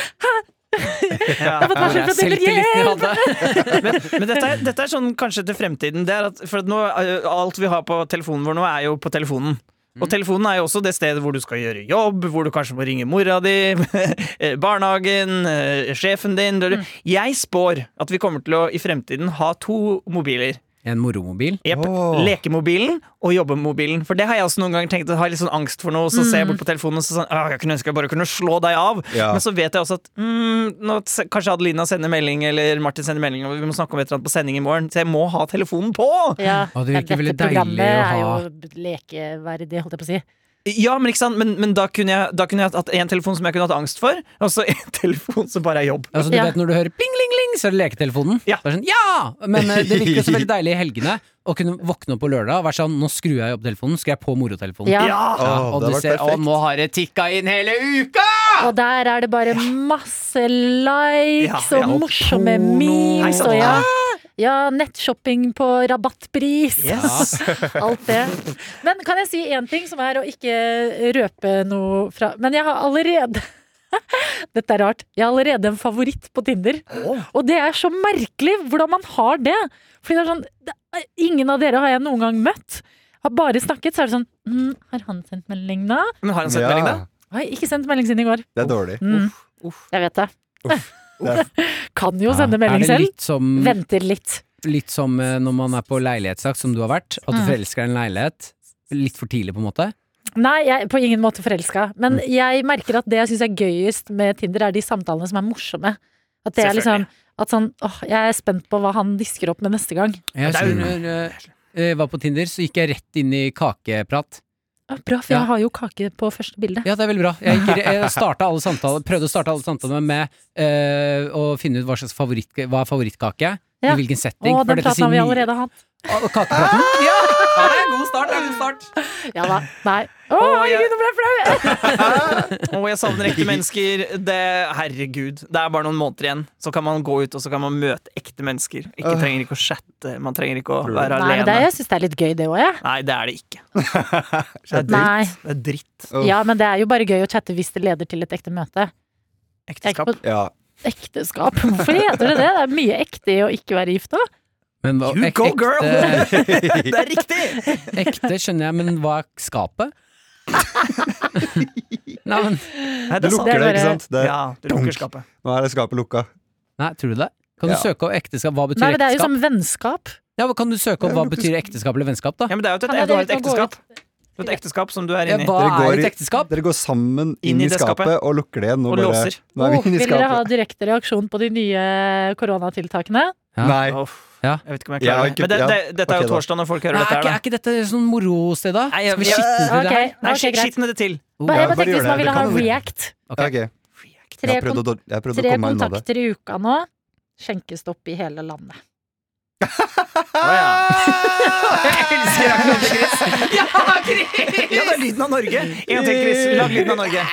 Ja.
Jeg har fått varsel fra Tinder!
Selvtilliten jeg
Yeah!
hadde.
Men, men dette, er, dette er sånn kanskje til fremtiden. Det er at, for at nå, eh, alt vi har på telefonen vår nå, er jo på telefonen. Og telefonen er jo også det stedet hvor du skal gjøre jobb, hvor du kanskje må ringe mora di, eh, barnehagen, eh, sjefen din du- du- Jeg spår at vi kommer til å i fremtiden ha to mobiler.
En moromobil.
Jepp.
Åh.
Lekemobilen og jobbemobilen. For det har jeg også noen ganger tenkt at jeg har litt sånn angst for noe, så ser jeg bort på telefonen og så sånn «Åh, Jeg kunne ønske jeg bare kunne slå deg av.
Mm. Ja.
Men så vet jeg også at mm, nå, s- kanskje Adelina sender melding, eller Martin sender melding, og vi må snakke om et eller annet på sending i morgen, så jeg må ha telefonen på!
Ja,
Å, det
ja,
virker veldig
dette
deilig
programmet
å
er
ha
jo lekeverdig, holdt jeg på å si.
Ja, men ikke sant? Men, men da, kunne jeg, da kunne jeg hatt én telefon som jeg kunne hatt angst for, og så én telefon som bare er jobb.
Altså, du
Ja.
vet når du hører pling, ling, ling, så er det leketelefonen.
Ja.
Det er sånn, ja! Men eh, det virker også veldig deilig i helgene å kunne våkne opp på lørdag og være sånn Nå skrur jeg opp telefonen, skrur jeg på morotelefonen.
Ja.
Ja!
Ja,
Åh,
og du
det har vært
ser Å,
perfekt.
nå har det tikka inn hele uka!
Og der er det bare masse likes
Ja, ja,
og
og
morsomme
porno. Hei, Ah!
memes
sant.
og ja. Ja, nettshopping på rabattpris.
Yes.
Alt det. Men kan jeg si én ting som er å ikke røpe noe fra Men jeg har allerede Dette er rart. Jeg har allerede en favoritt på Tinder. Og det er så merkelig hvordan man har det. Fordi det er sånn det er, Ingen av dere har jeg noen gang møtt. Har bare snakket, så er det sånn mm, Har han sendt melding, da?
Men har han sendt melding, da?
Nei, ikke sendt melding siden i går.
Det er dårlig.
Mm. Jeg vet det.
Det er,
Kan jo sende melding
er det
selv.
litt som,
Venter litt.
litt som eh, når man er på leilighetsjakt, som du har vært? At du
Mm.
forelsker deg i en leilighet? Litt for tidlig, på en måte?
Nei, jeg er på ingen måte forelska. Men jeg merker at det jeg syns er gøyest med Tinder, er de samtalene som er morsomme. At det er liksom
Selvfølgelig.
at sånn, åh, Jeg er spent på hva han disker opp med neste gang.
Jeg
Det er jo-
husker når eh, jeg var på Tinder, så gikk jeg rett inn i kakeprat.
Ja, bra, for
Ja.
jeg har jo kake på første bilde.
Ja, det er veldig bra. Jeg, gikk, jeg startet alle samtaler, prøvde å starte alle samtalene med eh, å finne ut hva slags favoritt, hva er favorittkake.
Ja.
I hvilken setting.
Å,
for
den
dette
praten
sier
har vi
mye-
allerede Ah! hatt.
Å, og kakepraten? Ja! ja, det er en god start. Det er en god start.
Ja da. Nei. Å,
Å, jeg-
herregud, nå ble jeg
Å,
flau!
jeg savner ekte mennesker. Det, herregud, det er bare noen måneder igjen. Så kan man gå ut og så kan man møte ekte mennesker. Ikke
Øh.
trenger ikke å chatte, man trenger ikke å
Tror du
være
Nei, men
alene.
det, jeg syns det er litt gøy, det òg, jeg.
Nei, det er det ikke.
det er dritt.
Nei.
Det er dritt.
Uff.
Ja, men det er jo bare gøy å chatte hvis det leder til et ekte møte. Jeg er ikke
Ekteskap.
på
Ja.
ekteskap. Hvorfor heter det det? Det er mye ekte i å ikke være gift òg.
Men hva-
You
ek-
go,
ekte-
girl! Det er riktig!
Ekte skjønner jeg, men hva er skapet? nei, men,
Nei, det er sant.
Du
Det er
lukker det, ikke
bare-
sant? Det,
Ja, du lukker skapet.
Nå er det skapet lukka.
nei, tror du det? Kan du
Ja.
søke opp ekteskap? Hva betyr
Nei, men det er jo
ekteskap?
som vennskap.
Ja, men kan du søke opp hva
Ja, du-
betyr ekteskap eller vennskap, da?
Ja, men det er jo et,
Kan jeg
du har et
dele ut og gå
ekteskap. Du har et ekteskap som du er
Ja,
inni.
hva
Dere går
er et
i-
ekteskap?
Dere går sammen inn, i skapet, og lukker det igjen. Nå
Og
bare-
låser.
Nå
Åh,
er vi inne i
vil dere ha
skapet.
direkte reaksjon på de nye koronatiltakene?
Ja.
Nei.
Uff,
Ja.
Jeg vet ikke om jeg
Ja,
klarer det.
ikke-
Men det,
ja.
det, dette er
Ok,
jo
da.
torsdag når folk hører
Nei, er,
dette
ikke, er
her, da.
ikke dette sånn morosted, da?
Nei, jeg-
Skal vi skitne
Ok,
til det her? Oh,
Nei,
ok, greit.
skitne det til.
Bare, jeg
Ja,
bare
bare
tenkte hvis
gjør det.
man ville
Det
ha
kan være.
react.
Ja, ok.
Tre,
Jeg prøvde,
kon
å, jeg prøvde å
tre
komme meg unna det.
kontakter i uka nå. Skjenkestopp i hele landet. Ah!
elsker akkurat Chris.
Ah!
Ja, Chris! Ja, det er lyden av Norge. En gang til, Chris. Lag lyden av Norge.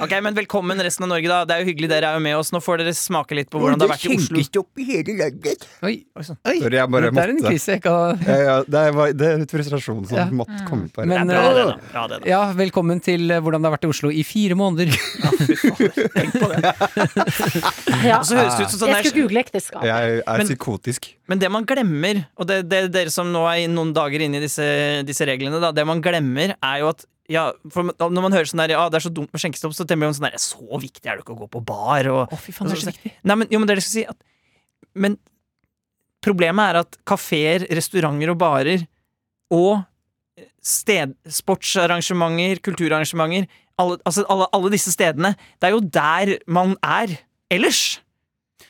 Ok, men Velkommen resten av Norge, da. Det er jo hyggelig dere er jo med oss. Nå får dere smake litt på hvordan det har vært i Oslo.
opp i hele landet.
Oi,
Oi, sånn.
oi.
Sorry, jeg bare
Det er en
måtte.
krise jeg ikke har
Ja, ja, det, var, det er litt frustrasjon som
Ja.
måtte komme på. her.
Men,
Det er bra, det,
eh,
da. Bra, det, da.
ja, velkommen til eh, hvordan det har vært i Oslo i fire måneder.
Ja.
Og så høres det ut som sånn
Jeg
der-
skulle google ekteskap.
Jeg er
Men-
psykotisk.
Men det man glemmer, og det, det dere som nå er noen dager inne i disse, disse reglene, da, det man glemmer er jo at ja, for Når man hører sånn der, ja, det er så dumt med skjenkestopp, så tenker man sånn der, så viktig er det ikke å gå på bar. Og,
Å, fy faen, det er så viktig.
Nei, men, jo, men det er det jeg skal si at, Men problemet er at kafeer, restauranter og barer og eh, sted, sportsarrangementer, kulturarrangementer alle, altså alle, alle disse stedene Det er jo der man er ellers.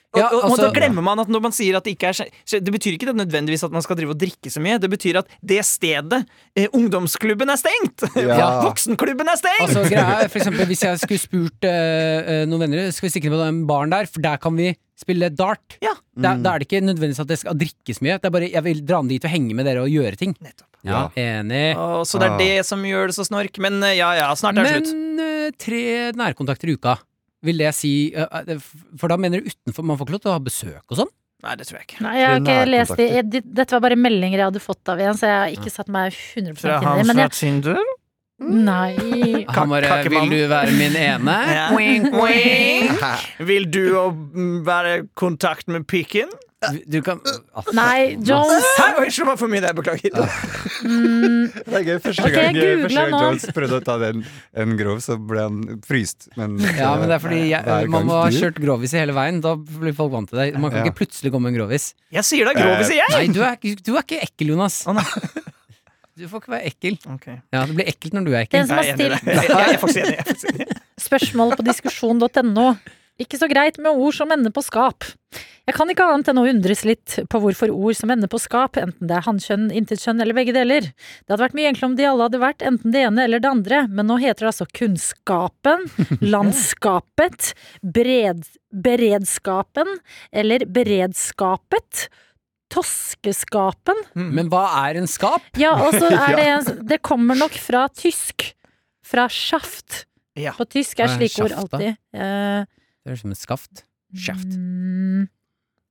Og,
Ja,
og, og
altså-
da glemmer man at når man sier at det ikke er skje- skje- Det betyr ikke det nødvendigvis at man skal drive og drikke så mye. Det betyr at det stedet, eh, ungdomsklubben, er stengt!
Ja.
Voksenklubben er stengt!
Altså, greia er, for eksempel, hvis jeg skulle spurt eh, eh, noen venner Skal vi stikke ned på den baren der, for der kan vi spille dart.
Ja.
Da,
Mm.
da er det ikke nødvendigvis at det skal drikkes mye. Det er bare, Jeg vil dra ned dit og henge med dere og gjøre ting.
Nettopp.
Ja.
Enig.
Å, så det er
Ah.
det som gjør det så snork. Men eh, ja ja, snart er det slutt.
Men eh, tre nærkontakter i uka, vil det si eh, eh, For da mener du utenfor Man får ikke lov til å ha besøk og sånn?
Nei, det tror jeg ikke.
Nei, jeg har ikke
Nærkontakter.
lest det. Jeg- det- Dette var bare meldinger jeg hadde fått av en, så jeg har ikke satt meg 100
Fra
inn i
han
men
fra
jeg,
Tinder?
Nei.
Han bare
kakemannen.
'Vil du være min ene?'
Ja.
Wink, wink.
Vil du å mm, være i kontakt med pikken?
Du kan altså,
Nei, Jones.
Hæ? Oi, slo meg for mye der, beklager.
Mm,
Det er gøy. Første
Ok, jeg
gang, første gang
googlet nå.
Jones prøvde å ta den en grov, så ble han fryst. Men,
Ja, men det er fordi jeg,
Hver
man
gang
må ha
du-
kjørt grovis i hele veien. Da blir folk vant til deg. Man kan
Ja.
ikke plutselig komme med en grovis.
Jeg sier det er grovis, sier jeg!
Nei, du er, ikke- du er ikke ekkel, Jonas.
Å, nei.
Du får ikke være ekkel.
Ok.
Ja, Det blir ekkelt når du er
den
ekkel.
som har
Jeg er enig i det.
stilt
Jeg jeg er faktisk enig. jeg er faktisk enig.
spørsmål på diskusjon.no. Ikke så greit med ord som ender på skap. Jeg kan ikke annet enn å undres litt på hvorfor ord som ender på skap, enten det er hannkjønn, intetkjønn eller begge deler. Det hadde vært mye enklere om de alle hadde vært enten det ene eller det andre, men nå heter det altså kunnskapen, landskapet, bred, beredskapen eller beredskapet, toskeskapen,
Men hva er en skap?
ja, og så er det en Det kommer nok fra tysk. Fra schaft.
Ja.
På tysk
Hva
er
er
slike ord
schaft, da?
alltid. eh,
Det er som et skaft. Schaft.
mm,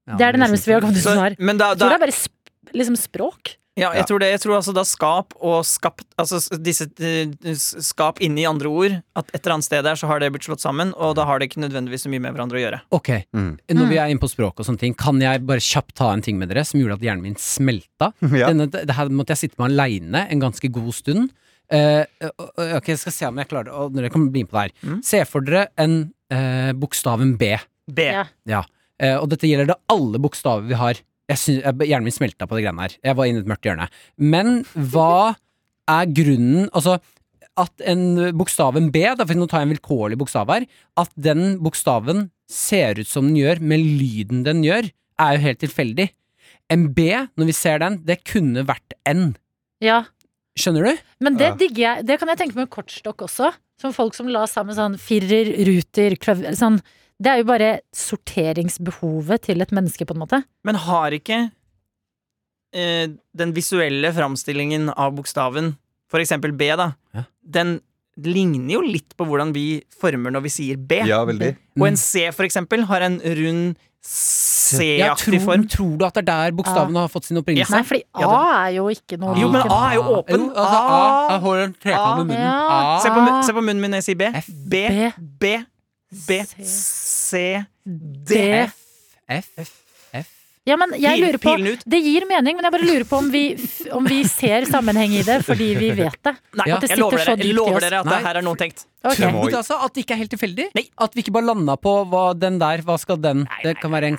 Ja,
det er det nærmeste vi har kommet
Så,
til svar.
men da,
Jeg tror
da
det er bare sp liksom språk.
ja, jeg tror det. Jeg tror altså da skap og skapt Altså s- disse eh, s- skap inni andre ord At et eller annet sted der så har det blitt slått sammen, og da har det ikke nødvendigvis så mye med hverandre å gjøre.
Ok,
Mm.
Når vi er inne på språk og sånne ting, kan jeg bare kjapt ta en ting med dere som gjorde at hjernen min smelta?
Ja.
Denne, det her måtte jeg sitte med aleine en ganske god stund. Eh, eh, ok, Jeg skal se om jeg klarer det. og Dere kan bli med på det her.
Mm.
Se for dere en eh, bokstaven B.
B.
Ja.
Eh, og dette gjelder da alle bokstaver vi har. Jeg synes, jeg, hjernen min smelta på det greiene her. Jeg var inne i et mørkt hjørne. Men hva er grunnen Altså, at en bokstaven B, da, for nå tar jeg en vilkårlig bokstav her, at den bokstaven ser ut som den gjør med lyden den gjør, er jo helt tilfeldig. En B, når vi ser den, det kunne vært N.
Ja.
Skjønner du?
Men det
Ja.
digger jeg. Det kan jeg tenke med kortstokk også. Som folk som la sammen sånn firer, ruter, kløver sånn. Det er jo bare sorteringsbehovet til et menneske, på en måte.
Men har ikke eh, den visuelle framstillingen av bokstaven, for eksempel B, da,
Ja.
den ligner jo litt på hvordan vi former når vi sier B.
ja, veldig.
Og
Mm.
en C, for eksempel, har en rund
Ja,
C-aktig
tror,
form.
tror du at det er der bokstaven har fått sin opprinnelse?
Nei, fordi
Ja,
A er jo ikke noe
Jo, men
like-
A er jo åpen.
Jo, altså, A,
A.
A holder en trekant med munnen.
Ja.
A.
Se på, mun- se på munnen min når jeg sier B.
F.
B,
B.
B, B,
C.
C, D.
D.
F, F, F.
Ja, men jeg
Pil-
lurer på
pilen ut.
Det gir mening, men jeg bare lurer på om vi, f- om vi ser sammenheng i det fordi vi vet det.
Nei,
Ja.
Det
jeg lover
sitter så
dere, jeg
dypt i
lover
oss.
dere at
Nei.
det her er noe tenkt.
Ok.
Tømmer.
Vet du altså At det ikke er helt tilfeldig?
Nei.
At vi ikke bare landa på hva den der Hva skal den? det kan være en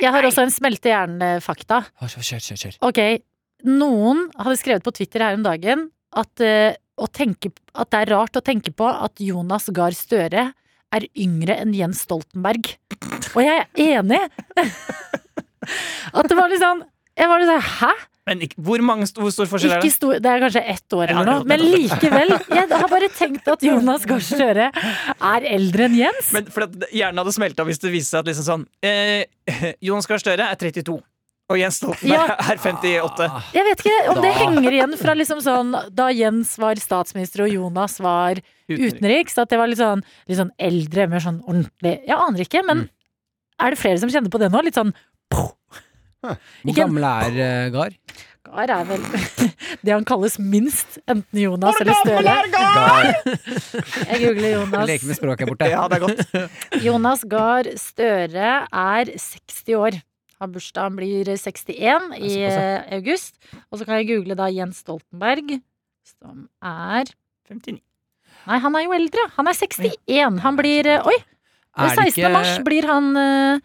Jeg har også en smelte hjerne-fakta.
Å, Kjør, kjør, kjør. kjør.
Ok, noen hadde skrevet på Twitter her om dagen at, eh, å tenke, at det er rart å tenke på at Jonas Gahr Støre er yngre enn Jens Stoltenberg. Og jeg er enig! At det var litt sånn Jeg var litt sånn Hæ?
Men ikke, hvor, mange, st- hvor stor forskjell er
Ikke
det?
stor, det er kanskje ett år eller
Ja,
noe,
nettopp,
men
nettopp.
likevel. Jeg har bare tenkt at Jonas Gahr Støre er eldre enn Jens.
Men for at Hjernen hadde smelta hvis det viste seg at liksom sånn eh, Jonas Gahr Støre er 32. Og og Jens Stoltenberg
Ja.
er 58.
Jeg vet ikke om det
Da-
henger igjen fra liksom sånn da Jens var statsminister og Jonas var utenriks. At det var litt sånn, litt sånn eldre, mer sånn ordentlig Jeg aner ikke, men
Mm.
er det flere som kjenner på det nå? Litt sånn poff.
Hvor
Ikke-
gammel er eh, Gahr?
Gar er vel det han kalles minst, enten Jonas eller Støre. Jeg googler
Jeg leker med
Jonas.
språket her borte.
Ah! Ja, det er godt.
Jonas Gahr Støre er 60 år. Har bursdag, han blir 61 i eh, august. Og så kan jeg google da Jens Stoltenberg, som er
59.
Nei, han er jo eldre. Han er 61. Han blir eh, Oi!
Er
16.
det ikke-
mars blir han eh,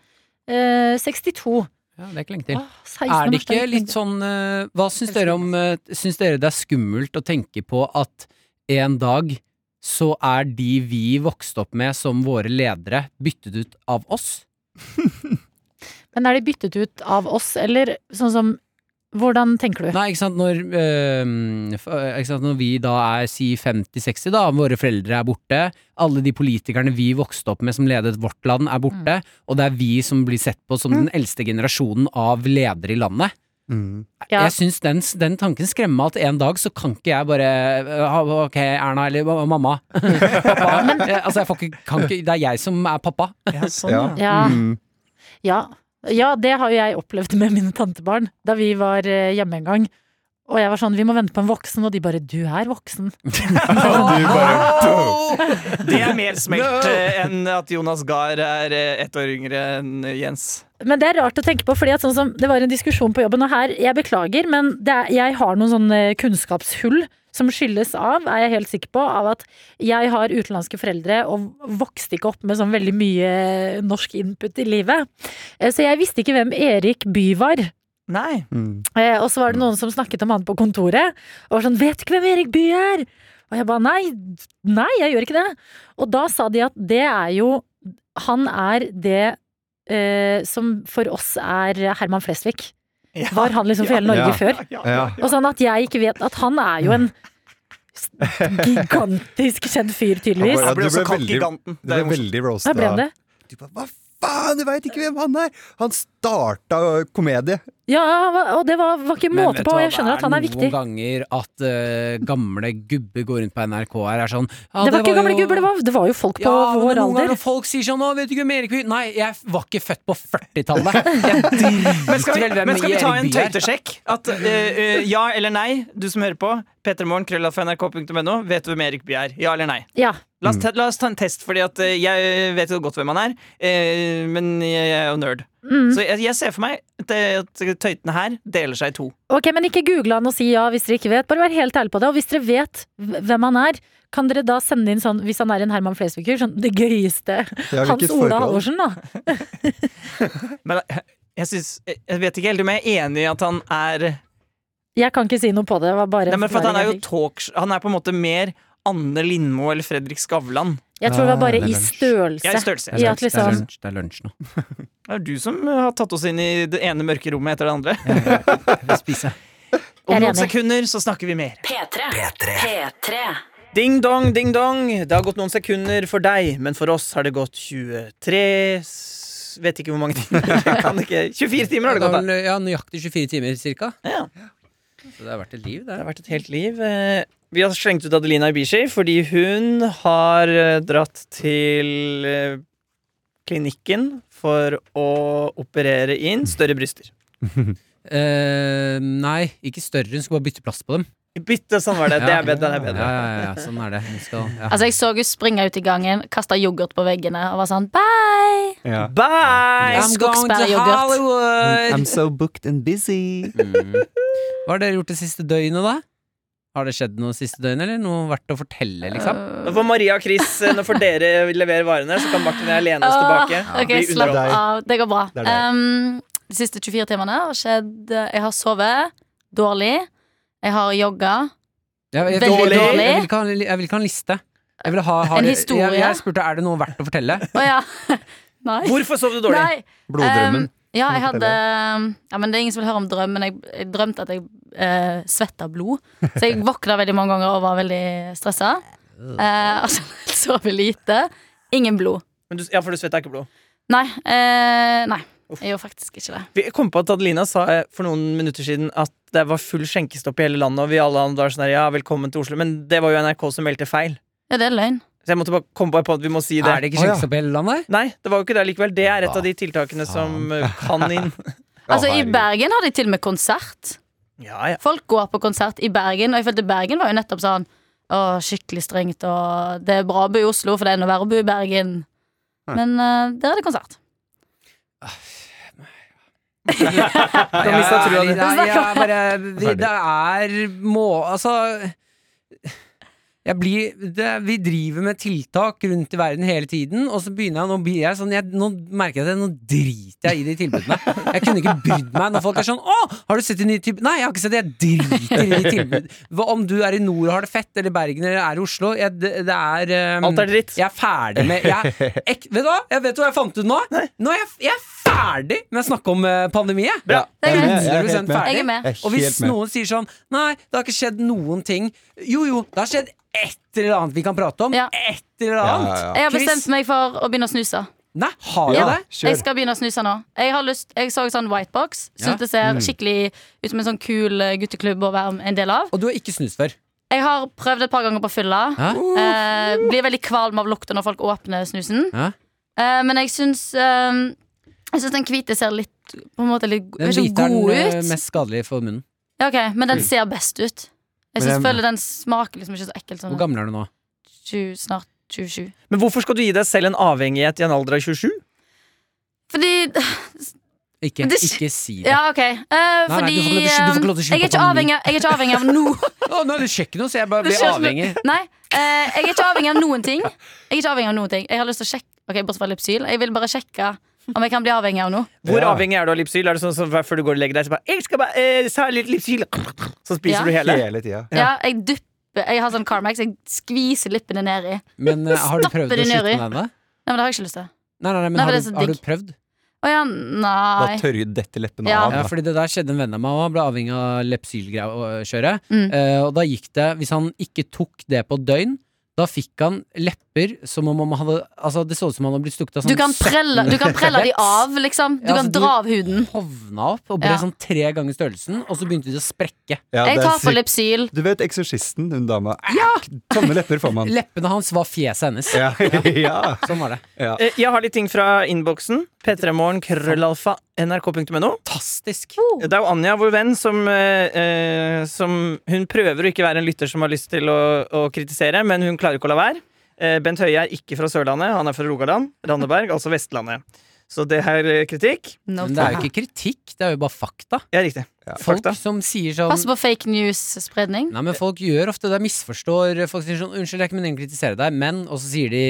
eh, 62.
Ja, det er ikke lenge til.
Åh, 16.
Er det
mars,
ikke
er
litt sånn eh, Hva syns dere om eh, Syns dere det er skummelt å tenke på at en dag så er de vi vokste opp med som våre ledere, byttet ut av oss? sånn-
Men er de byttet ut av oss, eller sånn som Hvordan tenker du?
Nei, ikke sant, når, eh, f- eh, ikke sant? når vi da er si 50-60, da, våre foreldre er borte, alle de politikerne vi vokste opp med som ledet vårt land, er borte,
Mm.
og det er vi som blir sett på som den eldste generasjonen av ledere i landet.
Mm.
Ja.
Jeg syns den, den tanken skremmer meg at en dag så kan ikke jeg bare eh, ha- Ok, Erna eller ma- mamma. pappa. Eh, altså, jeg får ikke, kan ikke Det er jeg som er pappa.
Ja, sånn,
Ja.
ja.
Ja,
Mm.
ja. ja, det har jo jeg opplevd med mine tantebarn da vi var eh, hjemme en gang. Og jeg var sånn, vi må vente på en voksen, og de bare, du er voksen.
Det er mer smelt eh, enn at Jonas Gahr er eh, ett år yngre enn eh, Jens.
Men det er rart å tenke på, fordi at sånn som det var en diskusjon på jobben, og her, jeg beklager, men det er, jeg har noen sånne kunnskapshull som skyldes av, er jeg helt sikker på, av at jeg har utenlandske foreldre og vokste ikke opp med sånn veldig mye norsk input i livet. Eh, Så jeg visste ikke hvem Erik By var.
Nei.
Mm.
Eh, Og så var det noen som snakket om han på kontoret, og var sånn 'Vet du ikke hvem Erik Bye er?' Og jeg ba nei, nei, jeg gjør ikke det. Og da sa de at det er jo Han er det eh, som for oss er Herman Flesvig.
Ja.
Var han liksom for hele Norge
Ja.
før?
Ja,
Ja.
Og sånn at jeg ikke vet At han er jo en s- gigantisk kjent fyr, tydeligvis.
Ja,
Jeg ble
du ble
også kalt
veldig-
giganten.
Det
Det er jo
ble
morsomt.
veldig roast.
Da ble han det.
Du bare, Hva faen, du veit ikke hvem han er! Han starta ø, komedie.
Ja, og det var, var ikke måte på. og Jeg skjønner at han er viktig.
noen ganger at eh, gamle gubber går rundt på NRK her er sånn ja,
det var ikke gamle
jo-
gubber, det var, det var jo folk på
Ja, men
vår
noen ganger
alder.
når folk sier sånn 'Å, vet du ikke hvem Erik Bye Nei, jeg var ikke født på 40-tallet. Jeg
Men skal, vi,
driter vel hvem
men skal vi
Erik
ta en
Bye er.
tøytesjekk? At, eh, eh, ja eller nei, du som hører på. P3morgen.nrk.no. Vet du hvem Erik Bye er? Ja eller nei?
Ja.
La oss, ta, la oss ta en test, Fordi at eh, jeg vet jo godt hvem han er. eh, men jeg er jo nerd.
Mm.
Så jeg, jeg ser for meg at, eh, at tøytene her deler seg i to.
Ok, men ikke google han og si ja hvis dere ikke vet. Bare vær helt ærlig på det. Og hvis dere vet hv- hvem han er, kan dere da sende inn sånn, hvis han er en Herman Flesvig-fyr, sånn det gøyeste
Ja,
Hans
hvilket
Ola Halvorsen,
forhold?
da.
Men jeg, jeg, syns, jeg- jeg vet ikke helt om jeg er enig i at han er
Jeg kan ikke si noe på det. det var bare en
Nei, men for at Han er
forklaring
jo
jeg fikk.
talks- Han er på en måte mer Anne Lindmo eller Fredrik Skavlan.
Jeg tror det var bare
Ah, det
i
er lunsj.
størrelse.
Ja, i størrelse.
I at
Det er
liksom
lunsj, det er lunsj nå.
Det er du som har tatt oss inn i det ene mørke rommet etter det andre.
Jeg vil spise.
Om
Jeg er
noen
enig.
sekunder så snakker vi mer.
P3. P3.
Ding dong, ding dong. Det har gått noen sekunder for deg, men for oss har det gått 23 s- Vet ikke hvor mange timer. Jeg Kan ikke. 24 timer har det
Det
gått, da.
er vel, Ja, nøyaktig 24 timer cirka.
Ja.
Så det har vært et liv, det.
Det har vært et helt liv. Eh, Vi har slengt ut Adelina Ibishi fordi hun har eh, dratt til eh, klinikken for å operere inn større bryster.
Eh, nei, ikke større. Hun skulle bare bytte plass på dem.
Bytte, sånn var det. det er bedre, den er
Ja,
bedre.
ja, ja, ja, sånn er det. Hun skal, ja.
Altså Jeg så hun springe ut i gangen, kaste yoghurt på veggene og var sånn bye!
Ja.
Bye!
I'm going to
Hollywood!
so booked and busy.
Mm. Hva har dere gjort det siste døgnet, da? Har det skjedd noe siste døgnet, eller noe verdt å fortelle, liksom?
Nå får Maria og Chris eh, Nå får dere levere varene, så kan Martin og jeg lene oss tilbake.
Åh, ok,
Bli
slapp
underholdt.
underholdt.
av. Det går bra.
Det er deg.
Um, de siste 24 timene har skjedd Jeg har sovet dårlig. Jeg har jogga.
Jeg, jeg,
Veldig
jeg, jeg,
dårlig.
vil ikke ha, jeg vil ikke ha en liste. Jeg vil ha, ha
En
det-
historie?
Jeg, jeg spurte er det noe verdt å fortelle.
Å ja. Nei.
Hvorfor sov du dårlig?
Nei.
Bloddrømmen.
Um, ja, jeg
Må
hadde Ja, men Det er ingen som vil høre om drøm, men jeg, jeg drømte at jeg eh, svetta blod. Så jeg våkna veldig mange ganger og var veldig stressa. Eh, og generelt sov jeg lite. Ingen blod.
Men du, ja, for du svetta ikke blod.
Nei. eh, nei. Jeg gjorde faktisk ikke det.
Vi kom på at Adelina sa eh, for noen minutter siden at det var full skjenkestopp i hele landet, og vi alle andre var sånn her, ja, velkommen til Oslo, men det var jo NRK som meldte feil.
Ja, det er løgn.
Så jeg måtte bare komme bare på at vi må si det.
Er det ikke
Å, ja.
skjenkestopp i hele landet?
Nei, det var jo ikke det likevel. Det er et av de tiltakene som eh, kan inn.
Altså, I
herregud.
Bergen har de til og med konsert.
Ja, ja.
Folk går på konsert i Bergen, og jeg følte Bergen var jo nettopp sånn å, skikkelig strengt, og det er bra å bo i Oslo, for det er noe verre å bo i Bergen. Men eh, der er det konsert.
Da mistet jeg trua di.
Nei, jeg er bare- vi- Det er må... Altså jeg blir, det, vi driver med tiltak rundt i verden hele tiden, og så begynner jeg, nå, blir jeg, sånn, jeg nå merker jeg at jeg- nå driter jeg i de tilbudene. Jeg kunne ikke brydd meg når folk er sånn 'Å, har du sett de nye tilbudene?' Nei, jeg har ikke sett det. Jeg driter i de tilbudene. Hva Om du er i nord og har det fett, eller i Bergen eller er i Oslo jeg, det, det er um,
Alt er dritt.
Jeg er ferdig med jeg, ek, Vet du hva? Jeg vet hva jeg fant ut nå? Nå er jeg, jeg er ferdig med å snakke om eh, pandemi, jeg.
Ja,
Det er
jeg
greit.
med, jeg er
100%
helt med.
ferdig.
Jeg er med.
Jeg er
Og hvis
helt med.
noen sier sånn Nei, det har ikke skjedd noen ting Jo jo, det har skjedd et eller annet vi kan prate om
Ja.
Et eller annet
Ja, ja,
Jeg har
Chris?
bestemt meg for å begynne å snuse.
Nei, har du
Ja,
det?
kjør.
Jeg skal begynne å snuse nå. Jeg, har lyst, jeg så sånn White Box. Syns
Ja. Mm.
det ser skikkelig ut som en sånn kul eh, gutteklubb å være en del av.
Og du har ikke snust før
Jeg har prøvd et par ganger på fylla.
Hæ?
Eh, blir veldig kvalm av lukta når folk åpner snusen.
Ja.
Eh, men jeg syns eh, Jeg syns den hvite ser litt På en måte litt
Den
ikke
hvite er
god
den eh,
ut.
mest skadelige for munnen
Ja, ok, Men
Mm.
den ser best ut. Jeg synes,
jeg-
føler den smaker liksom ikke så ekkelt som
Hvor gammel er du nå?
20, snart 27.
Men hvorfor skal du gi deg selv en avhengighet i en alder av 27?
Fordi
Ikke,
Men det-
ikke si det
Ja, OK. Eh,
nei,
fordi
du får ikke lov til å sky- du får ikke lov til å skylde
eh, jeg, er
på
ikke avhengig, av- jeg er ikke avhengig av noe.
Å, Nå er det sjekken nå, så jeg bare
Du
blir
ser ut som-
avhengig
Nei, eh, jeg er ikke avhengig av noen ting. Jeg er ikke avhengig av noen ting Jeg har lyst til å sjekke Ok, bortsett fra Lypsyl. Jeg vil bare sjekke om jeg kan bli avhengig av noe.
Hvor
Ja.
avhengig er du av Lipsyl? Er det sånn som hver- før du går og legger deg, så bare, jeg skal bare eh, så har jeg litt Lipsyl Så spiser
Ja.
du hele?
Hele tida.
Ja, jeg dupper Jeg har sånn Carmax. Jeg skviser lippene nedi. Nei,
Men eh, har du
Stapper
prøvd å
den
slutte
nedi.
med det?
men det har jeg ikke lyst til.
Nei, nei, nei, men
Nei, for
har,
det er
du,
så
har du
digg.
prøvd?
Å ja,
Da
nei.
tørrer dette leppene
Ja.
av.
Ja,
da.
fordi det der skjedde en venn av meg òg. Han ble avhengig av Lepsyl-kjøret.
Mm.
og da gikk det Hvis han ikke tok det på et døgn, da fikk han lepper som om han hadde Altså, det så ut som han hadde blitt stukket av sånn
Du kan prelle, du kan prelle de av, liksom. Du
Ja,
kan
altså, du-
dra av huden.
Hovna opp og ble
Ja.
sånn tre ganger størrelsen, og så begynte de å sprekke.
Ja,
Jeg
det er
tar for
sykt.
Lypsyl.
Du vet eksorsisten, hun dama. Sånne lepper får man.
Leppene hans var fjeset hennes.
Ja, ja.
Sånn var det.
Eh, Jeg har litt ting fra innboksen. P3morgen, krøllalfa, nrk.no.
Fantastisk.
Oh.
Det er jo Anja, vår venn, som, eh, eh, som Hun prøver å ikke være en lytter som har lyst til å, å kritisere, men hun klarer ikke å la være. Eh, Bent Høie er ikke fra Sørlandet, han er fra Rogaland. Randeberg, altså Vestlandet. Så det her eh, kritikk.
No
Men det er
time.
jo ikke kritikk, det er jo bare fakta.
Ja, riktig.
Folk
Fakta.
som sier sånn
Pass på fake news-spredning.
Nei, men folk gjør ofte det, misforstår Folk sier sånn, unnskyld, det er ikke meningen å kritisere deg Men, og så sier de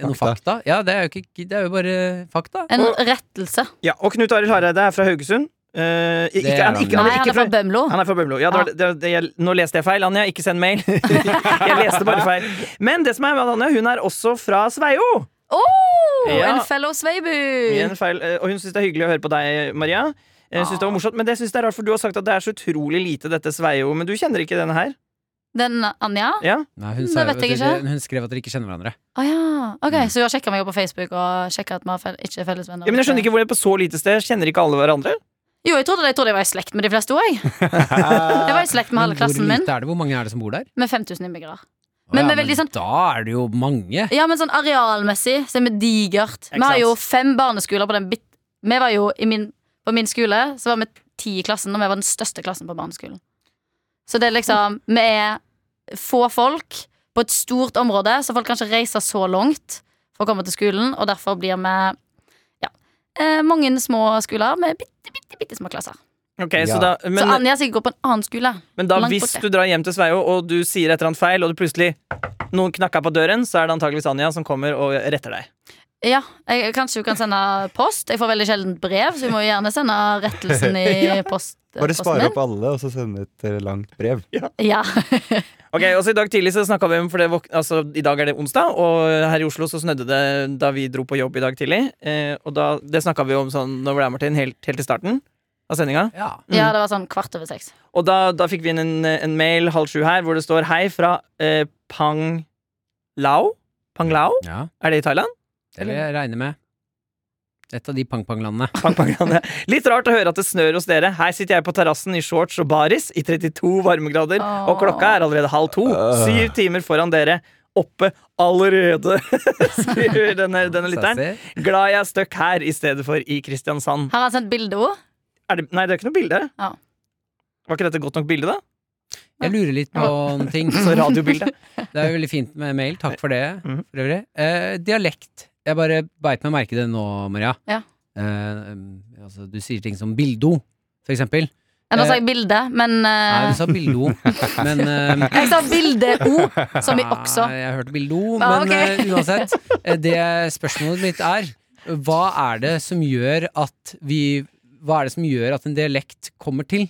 noen fakta Ja, det er jo, ikke, det er jo bare fakta
En rettelse.
Ja, og Knut Arild Hareide er fra Haugesund. Eh, ikke,
er han,
han, ikke, han, er
Nei, han
ikke
er fra
fra,
Bømlo.
han er fra Bømlo. Ja, det var, det, det, jeg, nå leste jeg feil, Anja. Ikke send mail. jeg leste bare feil. Men det som er med Anja, hun er også fra Sveio.
Oh,
Ja.
En fellow sveibu!
Igjen feil. eh, Og hun syns det er hyggelig å høre på deg, Maria. Jeg synes det
Ah.
var morsomt, Men det synes jeg er rart, for du har sagt at det er så utrolig lite dette Sveio. Men du kjenner ikke denne her?
Den Anja?
Ja?
Nei, hun,
Det
sa jo
vet
at
jeg
dere-
ikke.
hun skrev at dere ikke kjenner hverandre
Å ja. Ok, Så hun har sjekka meg opp på Facebook og sjekka at vi har fel ikke er felles venner?
Mm. ja, Men jeg skjønner ikke hvor det på så lite sted kjenner ikke alle hverandre.
Jo, jeg trodde, jeg trodde jeg var i slekt med de fleste òg. Jeg Jeg var i slekt med
Men
halve klassen min,
er det? Hvor mange er det som bor der?
med 5000 innbyggere.
Å
Men vi er veldig sånn-
Da er det jo mange
Ja, men sånn arealmessig så er vi digert. Vi
Ikke
har jo
sant?
fem barneskoler på den bit... Vi var jo i min, på min skole så var vi ti i klassen, og vi var den største klassen på barneskolen. Så det er liksom Vi er få folk på et stort område, så folk kan ikke reise så langt for å komme til skolen, og derfor blir vi ja, eh, mange små skoler med bitte, bitte, bitte små klasser.
Ok,
Ja.
så da,
så
men,
Anja sikkert går på en annen skole.
men da
langt
hvis
borte.
du drar hjem til Sveio, og du sier et eller annet feil, og det plutselig noen knakka på døren, så er det antakeligvis Anja som kommer og retter deg.
Ja, jeg, Kanskje hun kan sende post. Jeg får veldig sjelden brev, så vi må gjerne sende rettelsen i post.
Bare
posten
spare
min.
opp alle, og så sende et eh, langt brev.
Ja.
Ok, altså I dag tidlig så snakket vi om For det våk altså, i dag er det onsdag, og her i Oslo så snødde det da vi dro på jobb i dag tidlig. Eh, og da, det snakka vi om sånn når det er, Martin, helt, helt i starten av sendinga.
Ja
ja, det var sånn kvart over seks.
Og da, da fikk vi inn en, en mail halv sju her hvor det står hei fra eh, Pang Lao. Pang Lao?
Ja,
Er det i Thailand?
det vil jeg regne med Et av de pang-pang-landene.
Pang, pang, Janne. Litt rart å høre at det snør hos dere. Her sitter jeg på terrassen i shorts og baris i 32 varmegrader, og
Åh.
klokka er allerede halv to. Syv timer foran dere. Oppe allerede, skriver denne, denne lytteren.
Sassy.
Glad jeg er stuck her i stedet for i Kristiansand.
Har han sendt bildeord?
Er det, nei, det er ikke noe bilde.
Ja.
Var ikke dette godt nok bilde, da?
Jeg lurer litt på en ting.
Så radiobilde.
Det er jo veldig fint med mail, takk for det
Mm-hmm.
Mhm.
for øvrig. Eh, dialekt. Jeg bare beit meg merke i det nå, Maria.
Ja.
Eh, um, altså, du sier ting som bildo, for eksempel.
Eller
Eh,
sa jeg bilde, men eh,
Nei, du sa bildo, men eh,
Jeg sa bildeord, som i også.
Nei, Jeg hørte bildo,
Ah,
men
ok.
eh, uansett. eh, Det spørsmålet mitt er hva er det som gjør at vi Hva er det som gjør at en dialekt kommer til?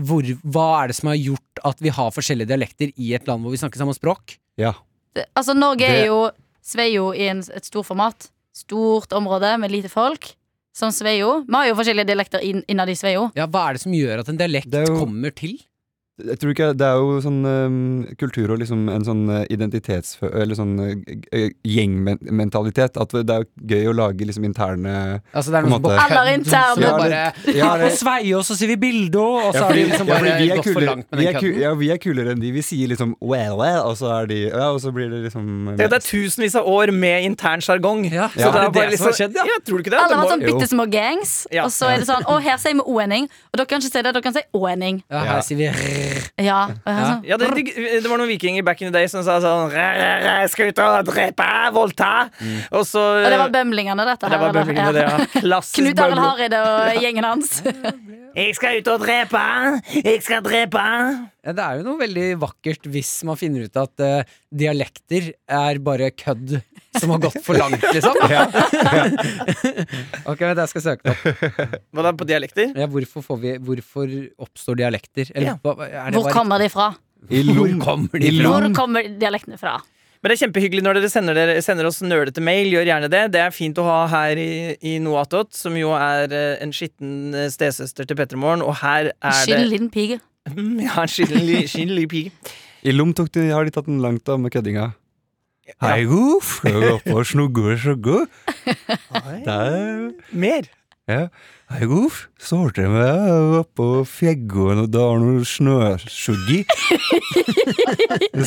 Hvor, hva er det som har gjort at vi har forskjellige dialekter i et land hvor vi snakker samme språk?
Ja.
Det- Altså, Norge er
Det-
jo sveier jo i en, et stort format. Stort område med lite folk. Som sveier jo. Vi har jo forskjellige dialekter inn, innad i sveier jo.
Ja, Hva er det som gjør at en dialekt
Det er jo-
kommer til?
Jeg tror ikke, Det er jo sånn øhm, kultur og liksom en sånn øh, identitets... Eller sånn øh, øh, gjengmentalitet. At det er jo gøy å lage liksom interne
Altså, det er
På en
noe som bare-
måte.
Sånn
Alle er interne.
som
Ja,
bare
ja,
Her på
det-
Sveio så sier vi bildo, og så har de liksom
ja,
bare
vi er
gått for
kulere-
langt med
vi
den
er ku-
kødden.
Ja, vi er kulere enn de. Vi sier liksom well, well, og så er de Ja, og så blir det liksom
Det er tusenvis av år med intern sjargong.
Ja,
Så det er bare
som har
liksom
skjedd, ja.
Ja, tror du ikke det?
Alle
Det
har
må-
sånn bitte små gangs,
Ja.
og så er det sånn Å, her sier vi o-ending. Og dere kan ikke si det, dere kan si å-ending.
Ja, her sier vi rrr.
Ja. Og jeg er
Ja.
sånn,
Ja, det, det, det var noen vikinger back in the day som sa sånn «Ræ, ræ, ræ, Jeg skal ut og drepe, voldta
Mm.
Og så
Og det var bømlingene, dette
Eh, Det
her.
var
eller?
bømlingene, det,
Ja.
ja. Klassisk
Knut Arild
bømlo.
Hareide og gjengen hans.
Jeg skal ut og drepe, jeg skal drepe
Ja, det er jo noe veldig vakkert hvis man finner ut at eh, dialekter er bare kødd som har gått for langt, liksom. ok, vent, jeg skal søke det opp.
Hva da, på dialekter?
Ja, hvorfor, får vi, hvorfor oppstår dialekter?
Ja.
Eller, hva- er det
Hvor
bare-
kommer de fra?
I
Hvor
lom.
kommer
I
de fra?
Hvor
Lom.
kommer dialektene fra?
Men det er kjempehyggelig når dere sender, dere, sender oss nerdete mail Gjør gjerne det, det er fint å ha her i, i Noatot Som jo er eh, en skitten eh, stesøster til Pettermorgen Og her er
Skyld
det
liten pige.
Ja, en skitten li- skitten lille pige
I lom tok de, har de tatt den langt, da, med køddinga.
Ja.
Hei, goff. Oppe og snugge og sjugge. Der.
Mer
Ja. Hei, goff. Sorte meg oppå fjeggen, og da har noe snøsuggi.